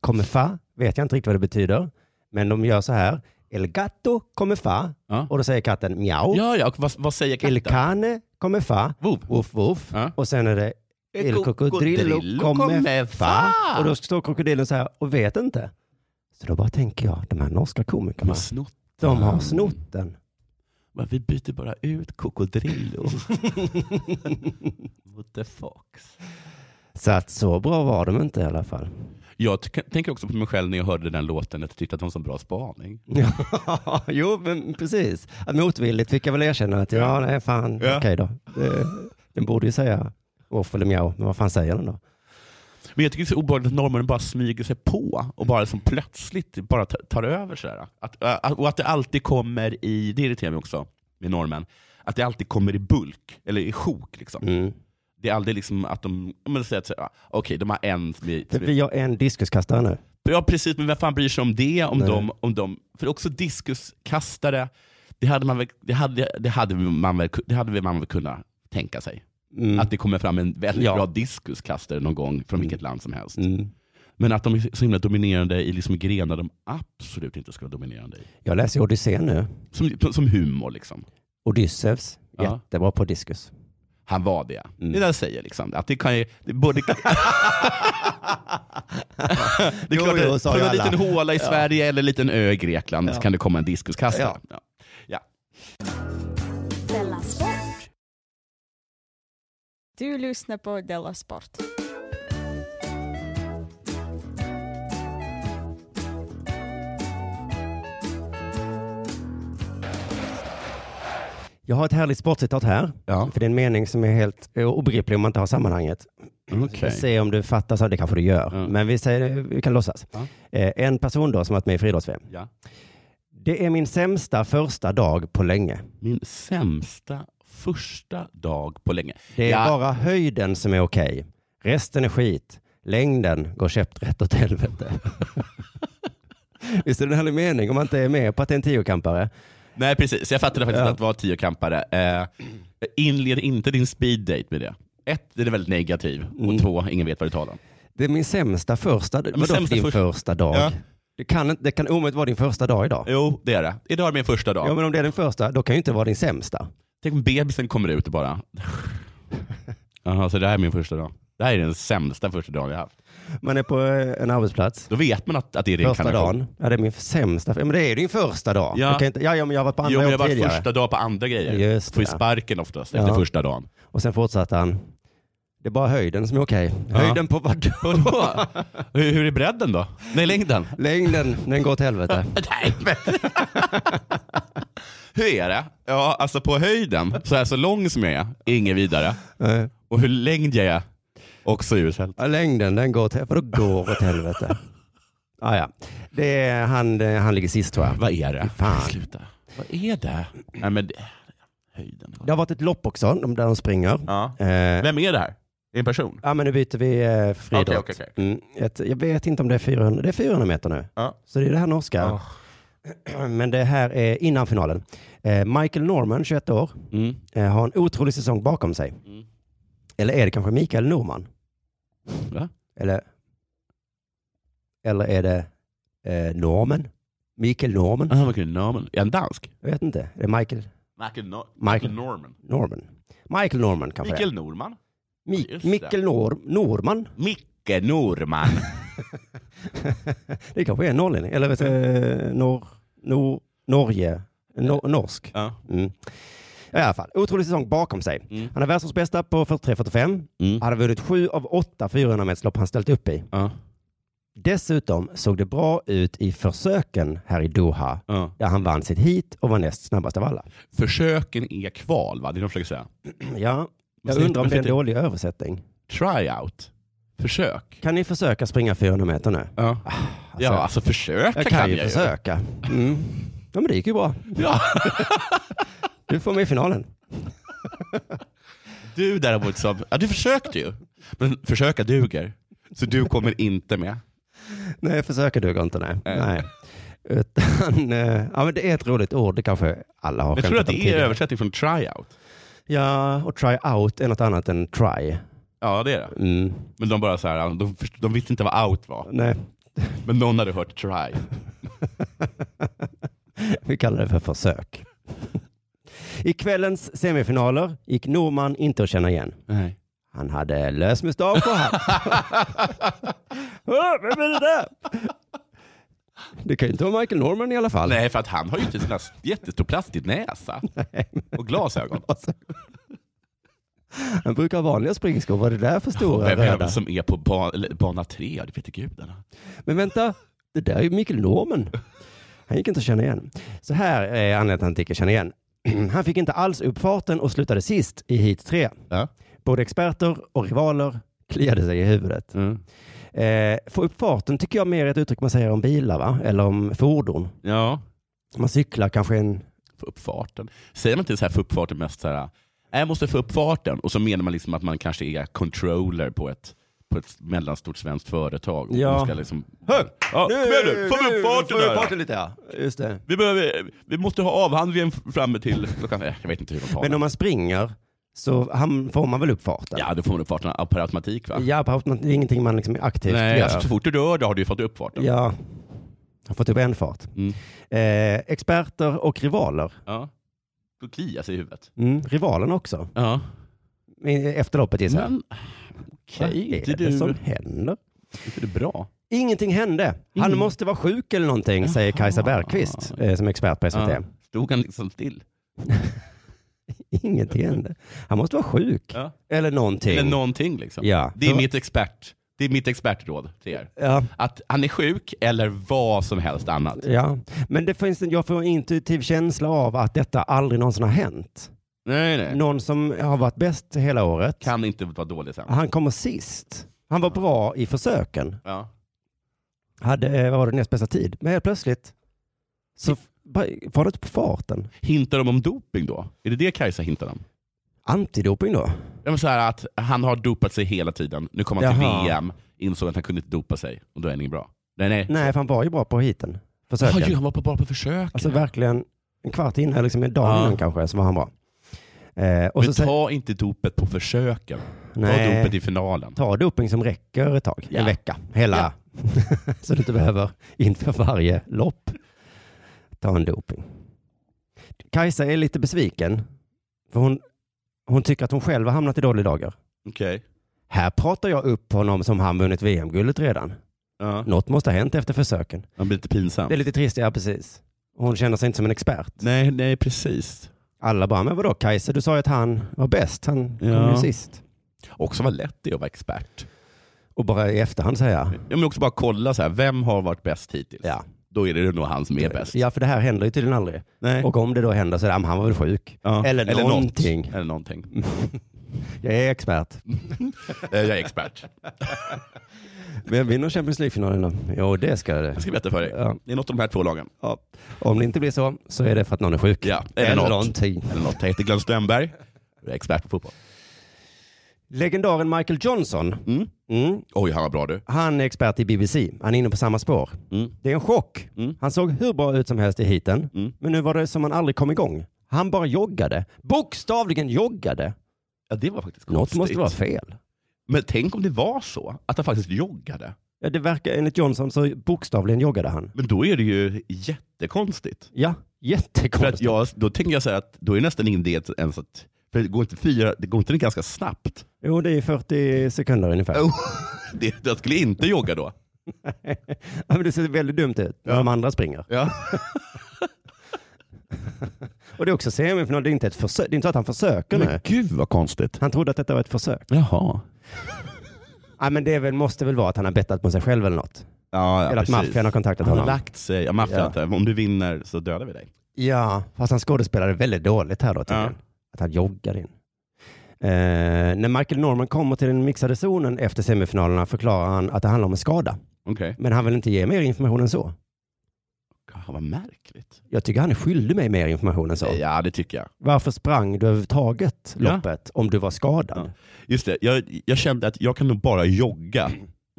Speaker 2: Come Fa vet jag inte riktigt vad det betyder, men de gör så här. El gatto come fa.
Speaker 1: Ja.
Speaker 2: Och då säger katten miau.
Speaker 1: Ja, ja. och Vad, vad säger
Speaker 2: Oh. El
Speaker 1: katten?
Speaker 2: cane come fa.
Speaker 1: Vov.
Speaker 2: Woof woof.
Speaker 1: Ja.
Speaker 2: Och sen är det El cocodrillo come fa. Och då står krokodilen så här och vet inte. Så då bara tänker jag, de här norska
Speaker 1: De
Speaker 2: komikerna,
Speaker 1: har snott.
Speaker 2: de har snott den.
Speaker 1: Men vi byter bara ut Cocodrillo mot The Fox.
Speaker 2: Så att så bra var de inte i alla fall.
Speaker 1: Jag t- tänker också på mig själv när jag hörde den låten, att jag tyckte att det var en sån bra spaning.
Speaker 2: Ja, jo, men precis. Att motvilligt fick jag väl erkänna att ja, nej, fan,
Speaker 1: Ja.
Speaker 2: okej då. Det, den borde ju säga off eller mjau, men vad fan säger den då?
Speaker 1: Men jag tycker det är så obehagligt att norrmännen bara smyger sig på och bara som plötsligt bara ta- tar över. Sådär. Att, äh, och att det alltid kommer i, det irriterar mig också med norrmän, att det alltid kommer i bulk, eller i sjok. Liksom.
Speaker 2: Mm.
Speaker 1: Det är aldrig liksom att de, om man säger att så här, ah, okej, de har en som är-
Speaker 2: För vi har en diskuskastare nu.
Speaker 1: Ja precis, men vem fan bryr sig om det? Om
Speaker 2: Nej.
Speaker 1: de, om de, för också diskuskastare, det hade man väl, det hade, det hade man väl, det hade väl man väl kunnat tänka sig.
Speaker 2: Mm.
Speaker 1: Att det kommer fram en väldigt
Speaker 2: Ja.
Speaker 1: bra diskuskastare någon gång från vilket land som helst.
Speaker 2: Mm.
Speaker 1: Men att de är så himla dominerande i liksom grenar de absolut inte ska vara dominerande i.
Speaker 2: Jag läser ju Odysseen nu.
Speaker 1: Som, som humor liksom.
Speaker 2: Odysseus,
Speaker 1: Ja.
Speaker 2: jättebra på diskus.
Speaker 1: Han var det.
Speaker 2: Mm.
Speaker 1: Det där säger liksom, att det kan ju, det borde... det är
Speaker 2: Jo,
Speaker 1: klart,
Speaker 2: jo,
Speaker 1: att
Speaker 2: sa
Speaker 1: från
Speaker 2: ju
Speaker 1: en
Speaker 2: alla.
Speaker 1: liten håla i Sverige eller en liten ö i Grekland så
Speaker 2: Ja.
Speaker 1: kan det komma en diskuskastare.
Speaker 2: Ja.
Speaker 1: Ja.
Speaker 4: Della Sport.
Speaker 5: Du lyssnar på Della Sport.
Speaker 2: Jag har ett härligt sportcitat här,
Speaker 1: Ja.
Speaker 2: för det är en mening som är helt eh, obegriplig om man inte har sammanhanget.
Speaker 1: Okej.
Speaker 2: Mm, Se om du fattar, så det kanske du gör.
Speaker 1: Ja.
Speaker 2: Men vi, säger, vi kan låtsas.
Speaker 1: Ja.
Speaker 2: Eh, en person då som varit med i friidrotts
Speaker 1: Ja.
Speaker 2: Det är min sämsta första dag på länge.
Speaker 1: Min sämsta första dag på länge.
Speaker 2: Det är
Speaker 1: Ja.
Speaker 2: bara höjden som är okej. Resten är skit. Längden går käpprätt åt helvete. Visst är det en härlig mening om man inte är med på att det är en tiokampare?
Speaker 1: Nej precis, jag fattade faktiskt
Speaker 2: Ja.
Speaker 1: att vara tiokampare. Eh, inled inte din speeddate med det. Ett, den är väldigt negativ.
Speaker 2: Mm.
Speaker 1: Och två, ingen vet vad du talar om.
Speaker 2: Det är min sämsta första,
Speaker 1: men
Speaker 2: vadå
Speaker 1: sämsta
Speaker 2: din
Speaker 1: första-
Speaker 2: första dag?
Speaker 1: Ja.
Speaker 2: Det, kan, inte- det kan omöjligt vara din första dag idag.
Speaker 1: Jo, det är det. Idag är min första dag.
Speaker 2: Ja, men om det är den första, då kan ju inte vara din sämsta.
Speaker 1: Tänk om bebisen kommer ut och bara... Jaha, så det här är min första dag. Det här är den sämsta första dagen jag haft.
Speaker 2: Man är på eh, en arbetsplats.
Speaker 1: Då vet man att, att det är
Speaker 2: Första
Speaker 1: reinkarnation.
Speaker 2: dagen. Ja, det är min försämsta. Ja, men det är din första dag.
Speaker 1: Ja.
Speaker 2: Jag kan inte, ja, ja, men jag har varit på andra
Speaker 1: Jo, men
Speaker 2: jobb
Speaker 1: jag har varit
Speaker 2: tidigare.
Speaker 1: första dag på andra grejer.
Speaker 2: Just det,
Speaker 1: Får ju
Speaker 2: ja.
Speaker 1: sparken oftast
Speaker 2: Ja.
Speaker 1: efter första dagen.
Speaker 2: Och sen fortsatte han. Det är bara höjden som är okej.
Speaker 1: Ja.
Speaker 2: Höjden på vad
Speaker 1: Vadå? hur, hur är bredden då? Nej, längden?
Speaker 2: Längden, den går till helvete.
Speaker 1: Nej, men... hur är det? Ja, alltså på höjden, så här så lång som jag är, inget vidare.
Speaker 2: Nej.
Speaker 1: Och hur längd jag är, också uselt.
Speaker 2: Eh, Ja, Längden, den går till, vadå går åt helvete? Ah, ja. det är, han, eh, han ligger sist tror jag.
Speaker 1: Vad är det?
Speaker 2: Fan.
Speaker 1: Sluta. Vad är det? Nej, men det... Höjden.
Speaker 2: Det har varit ett lopp också, de- där de springer.
Speaker 1: Ja.
Speaker 2: Eh,
Speaker 1: Vem är det här? Är det en person?
Speaker 2: ja, men nu byter vi eh, friidrott.
Speaker 1: Okej, okej,
Speaker 2: Mm, ett, jag vet inte om det är 400, det är 400 meter nu.
Speaker 1: Ja.
Speaker 2: Så det är det här norska.
Speaker 1: Ja.
Speaker 2: Men det här är innan finalen. Eh, Michael Norman, 21 år,
Speaker 1: Mm.
Speaker 2: eh, har en otrolig säsong bakom sig.
Speaker 1: Mm.
Speaker 2: Eller är det kanske Mikael Norman?
Speaker 1: Va?
Speaker 2: Eller, eller är det eh, Norman? Mikael Norman?
Speaker 1: Ah, Michael Norman. Är han dansk?
Speaker 2: Jag vet inte. Det är Michael
Speaker 1: Michael, Nor-
Speaker 2: Michael.
Speaker 1: Norman.
Speaker 2: Norman. Michael Norman kanske det är.
Speaker 1: Mikael Norman.
Speaker 2: Mik-
Speaker 1: just det.
Speaker 2: Mikkel Nor- Norman.
Speaker 1: Micke Norman.
Speaker 2: det kanske är en norrlänning. Eller vet du, eh, nor- nor- Norge. Nor- norsk.
Speaker 1: ja.
Speaker 2: Mm. I alla fall, otrolig säsong bakom sig.
Speaker 1: Mm.
Speaker 2: Han är världsårsbästa på 43-45.
Speaker 1: Mm.
Speaker 2: Han har vunnit sju av åtta 400-meterslopp han ställt upp i.
Speaker 1: Ja.
Speaker 2: Dessutom såg det bra ut i försöken här i Doha,
Speaker 1: Ja.
Speaker 2: där han vann sitt hit och var näst snabbast av alla.
Speaker 1: Försöken är kval, va? Det är det de försöker säga.
Speaker 2: Ja, jag
Speaker 1: Varför
Speaker 2: undrar om
Speaker 1: inte-
Speaker 2: det är en
Speaker 1: varför
Speaker 2: dålig översättning.
Speaker 1: Tryout. Försök.
Speaker 2: Kan ni försöka springa 400 meter nu?
Speaker 1: Ja,
Speaker 2: Alltså,
Speaker 1: ja alltså försöka
Speaker 2: jag kan, ju försöka. Mm. Ja, men det gick ju bra.
Speaker 1: Ja.
Speaker 2: Du får med i finalen.
Speaker 1: Du däremot som, ja du försökte ju. Men försöka duger. Så du kommer inte med.
Speaker 2: Nej, försöka duger inte. Nej. nej. Utan, eh, ja, men det är ett roligt ord, det kanske alla har
Speaker 1: Jag tror att
Speaker 2: skämtat om
Speaker 1: det är
Speaker 2: tidigare.
Speaker 1: översättning från tryout.
Speaker 2: Ja, och try out är något annat än try.
Speaker 1: Ja det är det.
Speaker 2: Mm.
Speaker 1: Men de bara så här, de, först- de visste inte vad out var.
Speaker 2: Nej,
Speaker 1: Men någon hade hört try.
Speaker 2: vi kallar det för försök. I kvällens semifinaler gick Norman inte att känna igen.
Speaker 1: Nej.
Speaker 2: Han hade lös mustasch och hatt. Åh, Vem är det där? Det kan ju inte vara Michael Norman i alla fall.
Speaker 1: Nej för att han har ju inte sån här jättestor plastig näsa. Och glasögon.
Speaker 2: Han brukar ha vanliga springskor. Vad är det där för
Speaker 1: Och
Speaker 2: stora
Speaker 1: vem är
Speaker 2: röda?
Speaker 1: det som är på ba, eller bana tre? Ja, Det vet gudarna.
Speaker 2: Men vänta, det där är ju Michael Norman. Han gick inte att känna igen. Så här är anledningen till att han inte känner igen. Han fick inte alls upp farten och slutade sist i heat 3.
Speaker 1: Ja.
Speaker 2: Både experter och rivaler kliade sig i huvudet.
Speaker 1: Mm.
Speaker 2: Eh, få upp farten tycker jag mer är ett uttryck man säger om bilar, va? eller om fordon.
Speaker 1: Ja.
Speaker 2: Man cyklar kanske en...
Speaker 1: få upp farten. Säger man inte så här få upp farten mest så här, "Nej, jag måste få upp farten och så menar man liksom att man kanske är controller på ett, på ett mellanstort svenskt företag. Och
Speaker 2: Ja.
Speaker 1: man ska liksom, "Hör, ja, kom igen nu, få upp farten
Speaker 2: Få
Speaker 1: här
Speaker 2: upp
Speaker 1: då."
Speaker 2: farten lite, ja. Just det.
Speaker 1: Vi, behöver, vi måste ha avhandlingen framme till klockan, eh, jag vet inte hur de tar
Speaker 2: Men om
Speaker 1: den.
Speaker 2: man springer så ham- får man väl upp farten?
Speaker 1: Ja, då får man upp farten per automatik va?
Speaker 2: Ja, på automat- det är ingenting man liksom aktivt
Speaker 1: Nej,
Speaker 2: gör.
Speaker 1: alltså, så fort du rör dig har du ju fått upp farten.
Speaker 2: Ja, har fått upp en fart.
Speaker 1: Mm.
Speaker 2: Eh, experter och rivaler.
Speaker 1: Ja. Då kliar sig i huvudet.
Speaker 2: Mm. Rivalen också.
Speaker 1: Ja.
Speaker 2: Eh, Efter loppet gissar jag.
Speaker 1: Men okej,
Speaker 2: Vad
Speaker 1: inte
Speaker 2: är det
Speaker 1: du,
Speaker 2: som händer?
Speaker 1: inte du bra?
Speaker 2: Ingenting hände. Han
Speaker 1: Mm.
Speaker 2: måste vara sjuk eller någonting, säger Kajsa
Speaker 1: Jaha.
Speaker 2: Bergqvist eh, som är expert på SVT.
Speaker 1: Ja. Stod han liksom still?
Speaker 2: Ingenting hände. Han måste vara sjuk.
Speaker 1: Ja.
Speaker 2: Eller någonting.
Speaker 1: Eller någonting liksom.
Speaker 2: Ja.
Speaker 1: Det är mitt expert. Det är mitt expertråd till er.
Speaker 2: ja.
Speaker 1: Att han är sjuk eller vad som helst annat.
Speaker 2: Ja, men det finns en, jag får en intuitiv känsla av att detta aldrig någonsin har hänt.
Speaker 1: Nej, nej.
Speaker 2: Någon som har varit bäst hela året,
Speaker 1: Kan inte vara dålig sen.
Speaker 2: han kommer sist. Han var bra i försöken,
Speaker 1: Ja.
Speaker 2: hade, eh, vad var det, näst bästa tid. Men helt plötsligt så f- bara var det inte på farten.
Speaker 1: Hintar de om doping då? Är det det Kajsa hintar om?
Speaker 2: Antidoping då?
Speaker 1: Ja, men så här att han har dopat sig hela tiden. Nu kom han
Speaker 2: Jaha.
Speaker 1: till VM, insåg att han kunde inte dopa sig och då är han ingen bra. Nej, nej.
Speaker 2: Nej, för han var ju bra på heaten.
Speaker 1: Ah,
Speaker 2: Försöken.
Speaker 1: ju, han var på, bara på försök.
Speaker 2: alltså verkligen en kvart innan, eller liksom en dag
Speaker 1: Ja.
Speaker 2: innan kanske, så var han bra. Eh, och så,
Speaker 1: men
Speaker 2: sä-
Speaker 1: ta inte dopet på försöken. Ta
Speaker 2: nej,
Speaker 1: dopet i finalen.
Speaker 2: ta doping som räcker ett tag, en
Speaker 1: Ja.
Speaker 2: vecka, hela. så du inte behöver inför varje lopp ta en doping. Kajsa är lite besviken, för hon, hon tycker att hon själv har hamnat i dåliga dagar.
Speaker 1: Okej.
Speaker 2: Här pratar jag upp honom som han vunnit VM-guldet redan.
Speaker 1: Ja.
Speaker 2: Något måste ha hänt efter försöken.
Speaker 1: Han blir lite pinsam.
Speaker 2: Det är lite trist, ja precis. Hon känner sig inte som en expert.
Speaker 1: Nej, nej, precis.
Speaker 2: Alla bara, men vadå Kajsa, du sa ju att han var bäst, han kom
Speaker 1: Ja.
Speaker 2: ju sist.
Speaker 1: Också vad lätt det är att vara expert.
Speaker 2: Och bara i efterhand säga,
Speaker 1: Jag vill också bara kolla så här, vem har varit bäst hittills?
Speaker 2: ja.
Speaker 1: Då är det nog han som är bäst.
Speaker 2: Ja, för det här händer ju tydligen aldrig.
Speaker 1: Nej.
Speaker 2: Och om det då händer så är det, "Ah, men han var väl sjuk.
Speaker 1: Ja.
Speaker 2: Eller
Speaker 1: något.
Speaker 2: någonting.
Speaker 1: Eller någonting.
Speaker 2: Jag är expert.
Speaker 1: Eh, Jag är expert.
Speaker 2: Vem vinner Champions League-finalen då? Jo, det ska det.
Speaker 1: Jag ska berätta för dig.
Speaker 2: Ja.
Speaker 1: Det är något av de här två lagen.
Speaker 2: Ja. Om det inte blir så, så är det för att någon är sjuk.
Speaker 1: Ja, eller något.
Speaker 2: någonting.
Speaker 1: Eller något. Jag heter Glenn Strömberg. Jag är expert på fotboll.
Speaker 2: Legendaren Michael Johnson,
Speaker 1: Mm.
Speaker 2: mm,
Speaker 1: Oj, han var bra du.
Speaker 2: han är expert i BBC. Han är inne på samma spår.
Speaker 1: Mm.
Speaker 2: Det är en chock.
Speaker 1: Mm.
Speaker 2: Han såg hur bra ut som helst i heaten,
Speaker 1: Mm.
Speaker 2: men nu var det som han aldrig kom igång. Han bara joggade. Bokstavligen joggade.
Speaker 1: Ja, det var faktiskt
Speaker 2: Något
Speaker 1: konstigt.
Speaker 2: måste vara fel.
Speaker 1: Men tänk om det var så, att han faktiskt joggade.
Speaker 2: Ja, det verkar, enligt Johnson så bokstavligen joggade han.
Speaker 1: Men då är det ju jättekonstigt.
Speaker 2: Ja,
Speaker 1: För att
Speaker 2: jättekonstigt.
Speaker 1: jag, då tänker jag så här att då är det nästan ingen idé att ens att... För det går inte fyra, det går inte ganska snabbt.
Speaker 2: Jo, det är 40 sekunder ungefär.
Speaker 1: Oh, det, jag skulle inte jogga då.
Speaker 2: Ja, men det ser väldigt dumt ut när
Speaker 1: Ja.
Speaker 2: de andra springer.
Speaker 1: Ja.
Speaker 2: Och det är också semifinal, det är inte ett försök. Det är inte så att han försöker nu.
Speaker 1: Men gud vad konstigt.
Speaker 2: Han trodde att detta var ett försök.
Speaker 1: Jaha.
Speaker 2: Ja, men det är väl, måste väl vara att han har bettat på sig själv eller något.
Speaker 1: Ja, ja,
Speaker 2: eller att
Speaker 1: precis.
Speaker 2: maffian har kontaktat
Speaker 1: Han har
Speaker 2: honom.
Speaker 1: lagt sig. Ja, maffian
Speaker 2: Ja.
Speaker 1: har inte- Om du vinner så dödar vi dig.
Speaker 2: Ja, fast han skådespelade väldigt dåligt här då tydligen. Att han joggar in. Eh, när Michael Norman kommer till den mixade zonen efter semifinalerna förklarar han att det handlar om en skada.
Speaker 1: Okej. Okay.
Speaker 2: Men han vill inte ge mer information än så.
Speaker 1: Vad märkligt.
Speaker 2: Jag tycker han är skyldig mig mer information än så.
Speaker 1: Ja, det tycker jag.
Speaker 2: Varför sprang du överhuvudtaget
Speaker 1: Ja.
Speaker 2: loppet om du var skadad?
Speaker 1: Just det, jag, jag kände att jag kan nog bara jogga.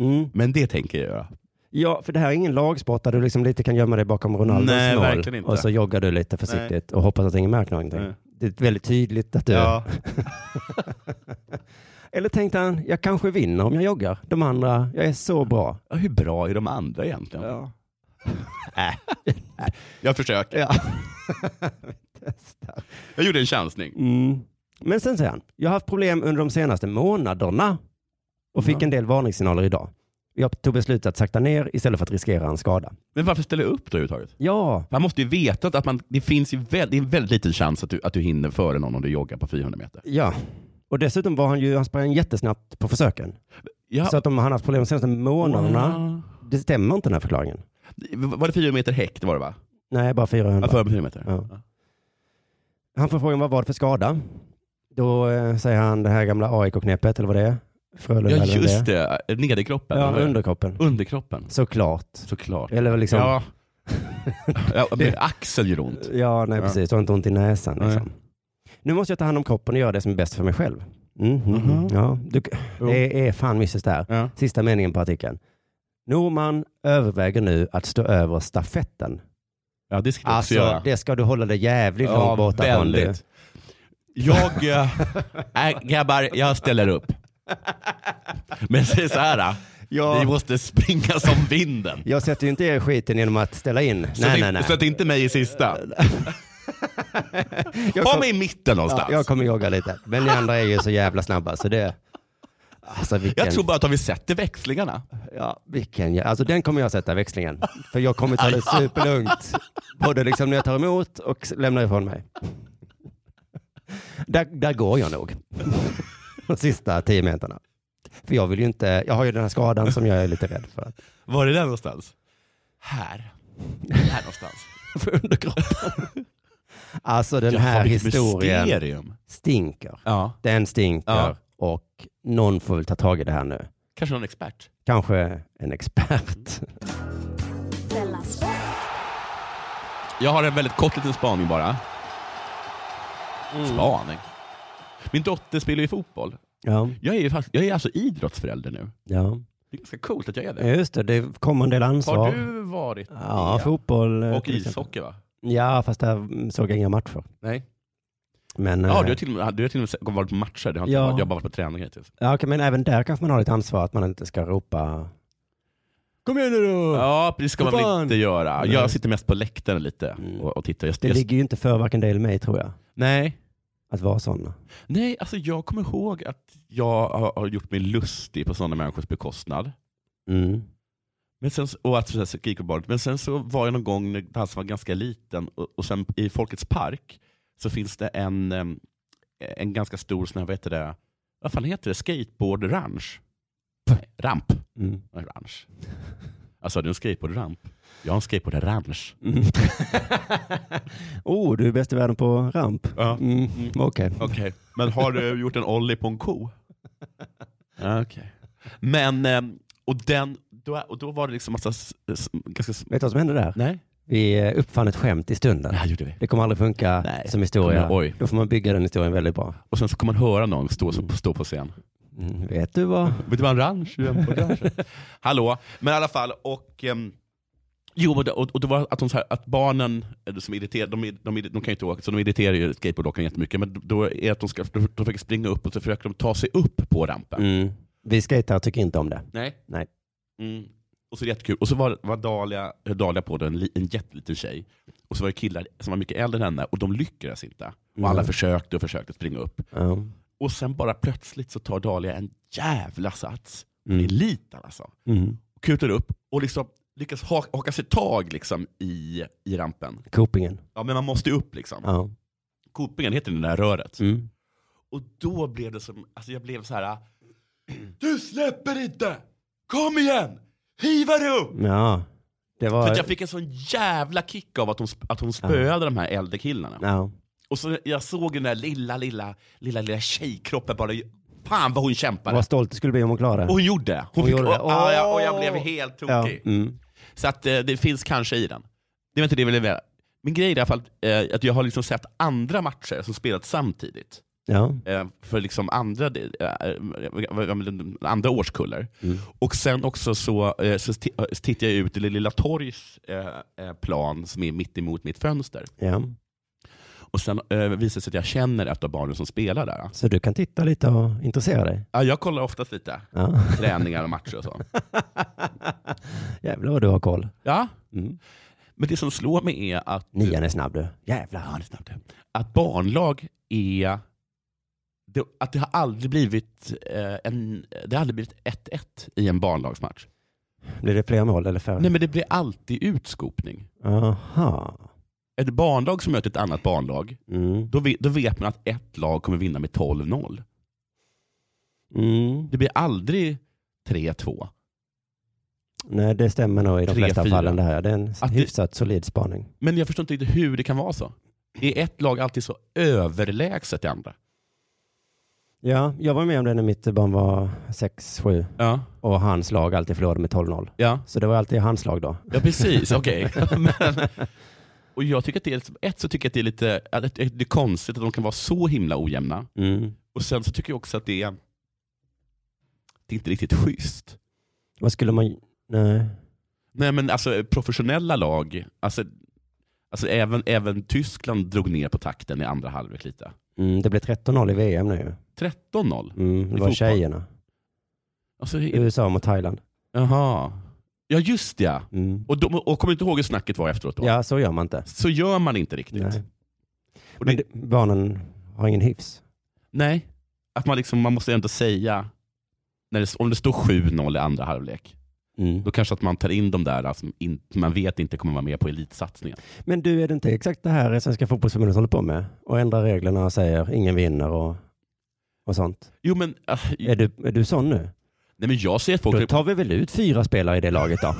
Speaker 2: Mm.
Speaker 1: Men det tänker jag göra.
Speaker 2: Ja, för det här är ingen lagsport där du liksom lite kan gömma dig bakom Ronaldos
Speaker 1: Nej,
Speaker 2: mål
Speaker 1: verkligen inte.
Speaker 2: och så joggar du lite försiktigt och hoppas att ingen märker någonting.
Speaker 1: Nej.
Speaker 2: Det är väldigt tydligt att du... Eller tänkte han, jag kanske vinner om jag joggar. De andra, jag är så bra.
Speaker 1: Ja, hur bra är de andra egentligen? Äh. jag försöker.
Speaker 2: Ja.
Speaker 1: Jag gjorde en chansning.
Speaker 2: Mm. Men sen säger han, jag har haft problem under de senaste månaderna och fick
Speaker 1: Ja.
Speaker 2: en del varningssignaler idag. Jag tog beslutet att sakta ner istället för att riskera en skada.
Speaker 1: Men varför ställa upp då överhuvudtaget?
Speaker 2: Ja,
Speaker 1: Man måste ju veta att man, det finns ju väl, det är en väldigt liten chans att du, att du hinner före någon om du joggar på 400 meter.
Speaker 2: ja. Och dessutom var han ju, han sprang jättesnabbt på försöken.
Speaker 1: Ja.
Speaker 2: Så att om han haft problem de senaste månaderna, det stämmer inte den här förklaringen.
Speaker 1: Var det 400 meter häck? Det var det va?
Speaker 2: Nej, bara
Speaker 1: Ja,
Speaker 2: 400.
Speaker 1: före 400 meter.
Speaker 2: Ja. Han får frågan vad var det för skada? Då eh, säger han det här gamla AIK-knepet, eller vad det är? Frölunda
Speaker 1: Ja,
Speaker 2: eller vad
Speaker 1: just
Speaker 2: det.
Speaker 1: det. Nederkroppen.
Speaker 2: är. Ja, underkroppen.
Speaker 1: Underkroppen.
Speaker 2: Såklart.
Speaker 1: Såklart.
Speaker 2: Eller liksom, ja,
Speaker 1: Ja. ja men axeln gör ont.
Speaker 2: nej
Speaker 1: Ja.
Speaker 2: precis, och inte ont i näsan. Liksom. Nu måste jag ta hand om kroppen och göra det som är bäst för mig själv. Mhm,
Speaker 1: Mhm.
Speaker 2: Ja, du, det är fan missus där.
Speaker 1: Ja.
Speaker 2: Sista meningen på artikeln. Norman överväger nu att stå över stafetten.
Speaker 1: Ja, det ska du också
Speaker 2: Alltså,
Speaker 1: göra.
Speaker 2: det ska du hålla dig jävligt långt borta från. du.
Speaker 1: väldigt. Jag, äh, grabbar, jag ställer upp. Men säg så här, äh,
Speaker 2: Ja.
Speaker 1: ni måste springa som vinden.
Speaker 2: Jag sätter ju inte er i skiten genom att ställa in.
Speaker 1: Så
Speaker 2: nej,
Speaker 1: att-
Speaker 2: nej, nej.
Speaker 1: Så att inte mig i sista.
Speaker 2: Jag
Speaker 1: Ha
Speaker 2: kom-
Speaker 1: mig i mitten någonstans.
Speaker 2: Ja, jag kommer jogga lite. Men ni andra är ju så jävla snabba så det... Alltså vilken...
Speaker 1: jag tror bara att har vi sett i växlingarna?
Speaker 2: ja, vilken... jä- Alltså den kommer jag sätta växlingen. För jag kommer ta det superlugnt. Både liksom när jag tar emot och s- lämnar ifrån mig. Där, där går jag nog. De sista tio meterna. För jag vill ju inte... Jag har ju den här skadan som jag är lite rädd för.
Speaker 1: Var är den någonstans? Här. Här någonstans.
Speaker 2: För underkroppen. Alltså den här
Speaker 1: vilket
Speaker 2: historien
Speaker 1: Mysterium.
Speaker 2: stinker.
Speaker 1: Ja.
Speaker 2: Den stinker
Speaker 1: Ja.
Speaker 2: och någon får väl ta tag i det här nu.
Speaker 1: Kanske någon expert.
Speaker 2: Kanske en expert.
Speaker 4: Della Sport.
Speaker 1: Jag har en väldigt kort liten spaning bara.
Speaker 2: Mm.
Speaker 1: Spaning? Min dotter spelar ju fotboll.
Speaker 2: Ja,
Speaker 1: Jag är, ju fast, jag är alltså idrottsförälder nu.
Speaker 2: ja.
Speaker 1: Det är ganska coolt att jag är det.
Speaker 2: just det. Det kommer en del ansvar.
Speaker 1: Har du varit
Speaker 2: Ja,
Speaker 1: det?
Speaker 2: fotboll. eh,
Speaker 1: Och
Speaker 2: till exempel.
Speaker 1: ishockey va?
Speaker 2: Ja, fast där mm, såg jag inga matcher.
Speaker 1: Nej.
Speaker 2: Men,
Speaker 1: Ja,
Speaker 2: eh,
Speaker 1: du har till och med, du har till och med varit på matcher. Det har inte
Speaker 2: Ja.
Speaker 1: varit, jag har bara varit på träning hittills.
Speaker 2: ja, okej, men även där kanske man har ett ansvar att man inte ska ropa Kom igen nu då!
Speaker 1: Ja, det ska
Speaker 2: Vad
Speaker 1: man väl
Speaker 2: fan?
Speaker 1: inte göra.
Speaker 2: Nej.
Speaker 1: Jag sitter mest på läktaren lite
Speaker 2: Mm.
Speaker 1: och, och tittar. Jag,
Speaker 2: Det
Speaker 1: jag,
Speaker 2: ligger ju inte för varken dig eller mig tror jag.
Speaker 1: nej.
Speaker 2: Att vara sådana?
Speaker 1: Nej, alltså jag kommer ihåg att jag har, har gjort mig lustig på sådana människors bekostnad.
Speaker 2: Mm.
Speaker 1: Men sen, så- och att så här skrika på barnet. Men sen så var jag någon gång när Dansen var ganska liten och, och sen i Folkets park så finns det en, em, en ganska stor sån här, vad heter det, vad fan heter det, skateboardranch? Nej, Ramp.
Speaker 2: Mm.
Speaker 1: Ranch. Alltså du en skateboardramp? Jag har en skateboardranch.
Speaker 2: Mm. oh, du är bäst i världen på ramp?
Speaker 1: Ja.
Speaker 2: Mm. Okej.
Speaker 1: Okej, men har du gjort en ollie på en ko? Ja, Okej. Men, em, och, den, då, och då var det liksom massa, s- s- ganska... s-
Speaker 2: Vet du vad som hände där?
Speaker 1: Nej?
Speaker 2: Vi eh, uppfann ett skämt i stunden.
Speaker 1: Nej, gjorde vi.
Speaker 2: Det kommer aldrig funka
Speaker 1: Nej.
Speaker 2: som historia.
Speaker 1: Kommer- oj.
Speaker 2: Då får man bygga den historien väldigt bra.
Speaker 1: Och sen så kommer man höra någon stå, stå på scen.
Speaker 2: Mm. Vet du vad?
Speaker 1: Vet du vad en ranch är? På ranch. Hallå, men i alla fall. Och, ehm, jo, och, det- och, och det var att, de så här, att barnen eh, som irriterar, de, är- de, är- de kan ju inte åka, så de irriterar ju skateboardåkaren jättemycket. Men då är det att de, ska, de, de försöker springa upp och så försöker de ta sig upp på rampen.
Speaker 2: Mm. Vi skejtare tycker inte om det.
Speaker 1: Nej.
Speaker 2: Nej.
Speaker 1: Mm. Och så är det jättekul. Och så var, var Dahlia, höll Dahlia på det, en, li- en jätteliten tjej. Och så var det killar som var mycket äldre än henne och de lyckades inte. Och alla
Speaker 2: Mm.
Speaker 1: försökte och försökte springa upp.
Speaker 2: Ja.
Speaker 1: Och sen bara plötsligt så tar Dahlia en jävla sats. Hon
Speaker 2: Mm.
Speaker 1: är liten alltså.
Speaker 2: Mm.
Speaker 1: kutar upp och liksom lyckas ha- haka sig tag liksom i, i rampen.
Speaker 2: Copingen.
Speaker 1: Ja, men man måste ju upp liksom.
Speaker 2: Ja.
Speaker 1: Kopingen heter det där röret.
Speaker 2: Mm.
Speaker 1: Och då blev det som, alltså jag blev så här. Du släpper inte! Kom igen! Hiva dig upp!
Speaker 2: ja. Det var...
Speaker 1: För att jag fick en sån jävla kick av att hon, sp- att hon spöade de här äldre killarna.
Speaker 2: Ja.
Speaker 1: Och så jag såg den där lilla, lilla, lilla, lilla tjejkroppen bara. Fan vad hon kämpade.
Speaker 2: Vad stolt du skulle bli om hon klarade
Speaker 1: Och hon gjorde det. Hon
Speaker 2: Hon
Speaker 1: fick,
Speaker 2: gjorde det.
Speaker 1: och, ja, ja, och
Speaker 2: Åh!
Speaker 1: jag blev helt tokig.
Speaker 2: Ja. Mm.
Speaker 1: Så att eh, det finns kanske i den. Det var inte det jag ville med. Min grej är i alla fall eh, att jag har liksom sett andra matcher som spelats samtidigt.
Speaker 2: ja.
Speaker 1: Eh, för liksom andra, eh, vad- vad- andra årskullar.
Speaker 2: Mm.
Speaker 1: Och sen också så, eh, så ti- eh, så tittar jag ut till Lilla Torgs eh, eh, plan som är mitt emot mitt fönster.
Speaker 2: ja.
Speaker 1: Och sen eh, visar det sig att jag känner ett av barnen som spelar där.
Speaker 2: Så du kan titta lite och intressera dig?
Speaker 1: Ja, jag kollar oftast lite
Speaker 2: Ja.
Speaker 1: träningar och matcher och så.
Speaker 2: Jävlar vad du har koll.
Speaker 1: Ja,
Speaker 2: Mm.
Speaker 1: men det som slår mig är att
Speaker 2: Nian är snabb du. Jävlar.
Speaker 1: Ja, det är snabbt. Att barnlag är... Det, att det har aldrig blivit eh, en, det har aldrig blivit 1-1 i en barnlagsmatch.
Speaker 2: Blir det fler mål eller färre?
Speaker 1: Nej, men det blir alltid utskopning.
Speaker 2: Aha.
Speaker 1: Ett barnlag som möter ett annat barnlag,
Speaker 2: Mm.
Speaker 1: då, ve- då vet man att ett lag kommer vinna med 12-0.
Speaker 2: Mm.
Speaker 1: Det blir aldrig 3-2.
Speaker 2: Nej, det stämmer nog i de
Speaker 1: Tre,
Speaker 2: flesta
Speaker 1: fyra.
Speaker 2: fallen. Det, här. det är en
Speaker 1: Att det-
Speaker 2: hyfsat solid spaning.
Speaker 1: Men jag förstår inte riktigt hur det kan vara så. Är ett lag alltid så överlägset det andra?
Speaker 2: Ja, jag var med om det när mitt barn var 6-7
Speaker 1: Ja,
Speaker 2: och hans lag alltid förlorade med 12-0.
Speaker 1: ja.
Speaker 2: Så det var alltid hans lag då.
Speaker 1: Ja precis, okej. Men- Och jag tycker att det är, ett så tycker jag att det är lite att det det är konstigt att de kan vara så himla ojämna.
Speaker 2: Mm.
Speaker 1: Och sen så tycker jag också att det är, det är inte riktigt schysst.
Speaker 2: Vad skulle man... Nej.
Speaker 1: Nej men alltså professionella lag, alltså, alltså även, även Tyskland drog ner på takten i andra halvlek lite.
Speaker 2: Mm, det blev 13-0 i VM nu.
Speaker 1: 13-0?
Speaker 2: Mm, det var
Speaker 1: fotboll.
Speaker 2: tjejerna.
Speaker 1: Alltså, är-
Speaker 2: USA mot Thailand.
Speaker 1: jaha. Ja just det, ja.
Speaker 2: Mm.
Speaker 1: Och, de, och kommer du inte ihåg hur snacket var efteråt då?
Speaker 2: Ja, så gör man inte.
Speaker 1: Så gör man inte riktigt.
Speaker 2: Nej.
Speaker 1: Nej. Och
Speaker 2: Men
Speaker 1: det-
Speaker 2: det... barnen har ingen hyfs.
Speaker 1: Nej, att man, liksom, man måste ändå säga, när det, om det står 7-0 i andra halvlek, då kanske att man tar in de där alltså, in, som man vet inte kommer vara med på elitsatsningen.
Speaker 2: Men du, är det inte exakt det här Svenska fotbollsförbundet håller på med? Och ändrar reglerna och säger ingen vinner och, och sånt.
Speaker 1: Jo men, äh,
Speaker 2: Är du, är du sån nu?
Speaker 1: nej, men jag ser att
Speaker 2: Då
Speaker 1: folk...
Speaker 2: tar vi väl ut fyra spelare i det laget då?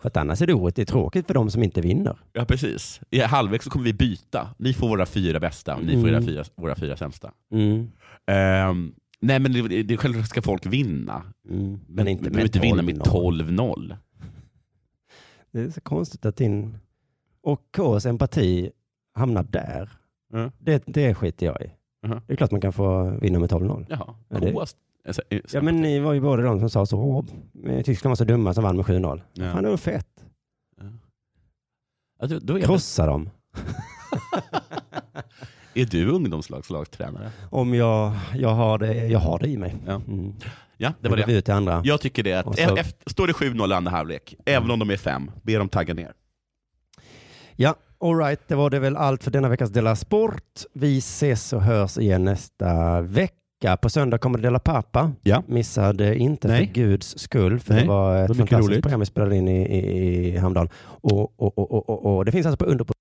Speaker 2: För att annars är det orättvist tråkigt för de som inte vinner.
Speaker 1: Ja precis. I halvlek så kommer vi byta. Ni får våra fyra bästa, ni får
Speaker 2: Mm.
Speaker 1: era fyra, våra fyra sämsta. Ehm, nej men det, det självklart ska folk vinna.
Speaker 2: Mm.
Speaker 1: Men, inte, men inte vinna med 12-0.
Speaker 2: Det är så konstigt att din och Ks empati hamnar där.
Speaker 1: Mm.
Speaker 2: Det, det skiter jag i.
Speaker 1: Mhm.
Speaker 2: Det är klart man kan få vinna med 12-0.
Speaker 1: Jaha.
Speaker 2: Ja, det-
Speaker 1: Kås- alltså, eh,
Speaker 2: Ja, men ni var ju båda de som sa så. "Åh, Tyskland var så dumma som vann med 7-0.
Speaker 1: Ja.
Speaker 2: Fan, det var fett.
Speaker 1: Ja, då- då är,
Speaker 2: Krossa dem.
Speaker 1: det- är du ungdomslagslagstränare?
Speaker 2: Om jag, jag, har det, jag har det i mig.
Speaker 1: Ja.
Speaker 2: Mm.
Speaker 1: Ja, det
Speaker 2: Det
Speaker 1: var
Speaker 2: går
Speaker 1: det.
Speaker 2: vi ut till andra.
Speaker 1: Jag tycker det.
Speaker 2: Och
Speaker 1: Att
Speaker 2: så-
Speaker 1: e- efter, står det 7-0 i andra halvlek, även om de är fem, be dem tagga ner.
Speaker 2: Ja, Alright, det var det väl allt för denna veckas Della Sport. Vi ses och hörs igen nästa vecka. På söndag kommer det Della Pappa.
Speaker 6: Ja.
Speaker 2: Missade inte
Speaker 6: Nej.
Speaker 2: för guds skull, för
Speaker 6: Nej,
Speaker 2: det var ett
Speaker 6: mycket
Speaker 2: fantastiskt
Speaker 6: roligt.
Speaker 2: program vi spelade in i, i, i Hamdalen. Och, och, och, och, och, och det finns alltså på Under på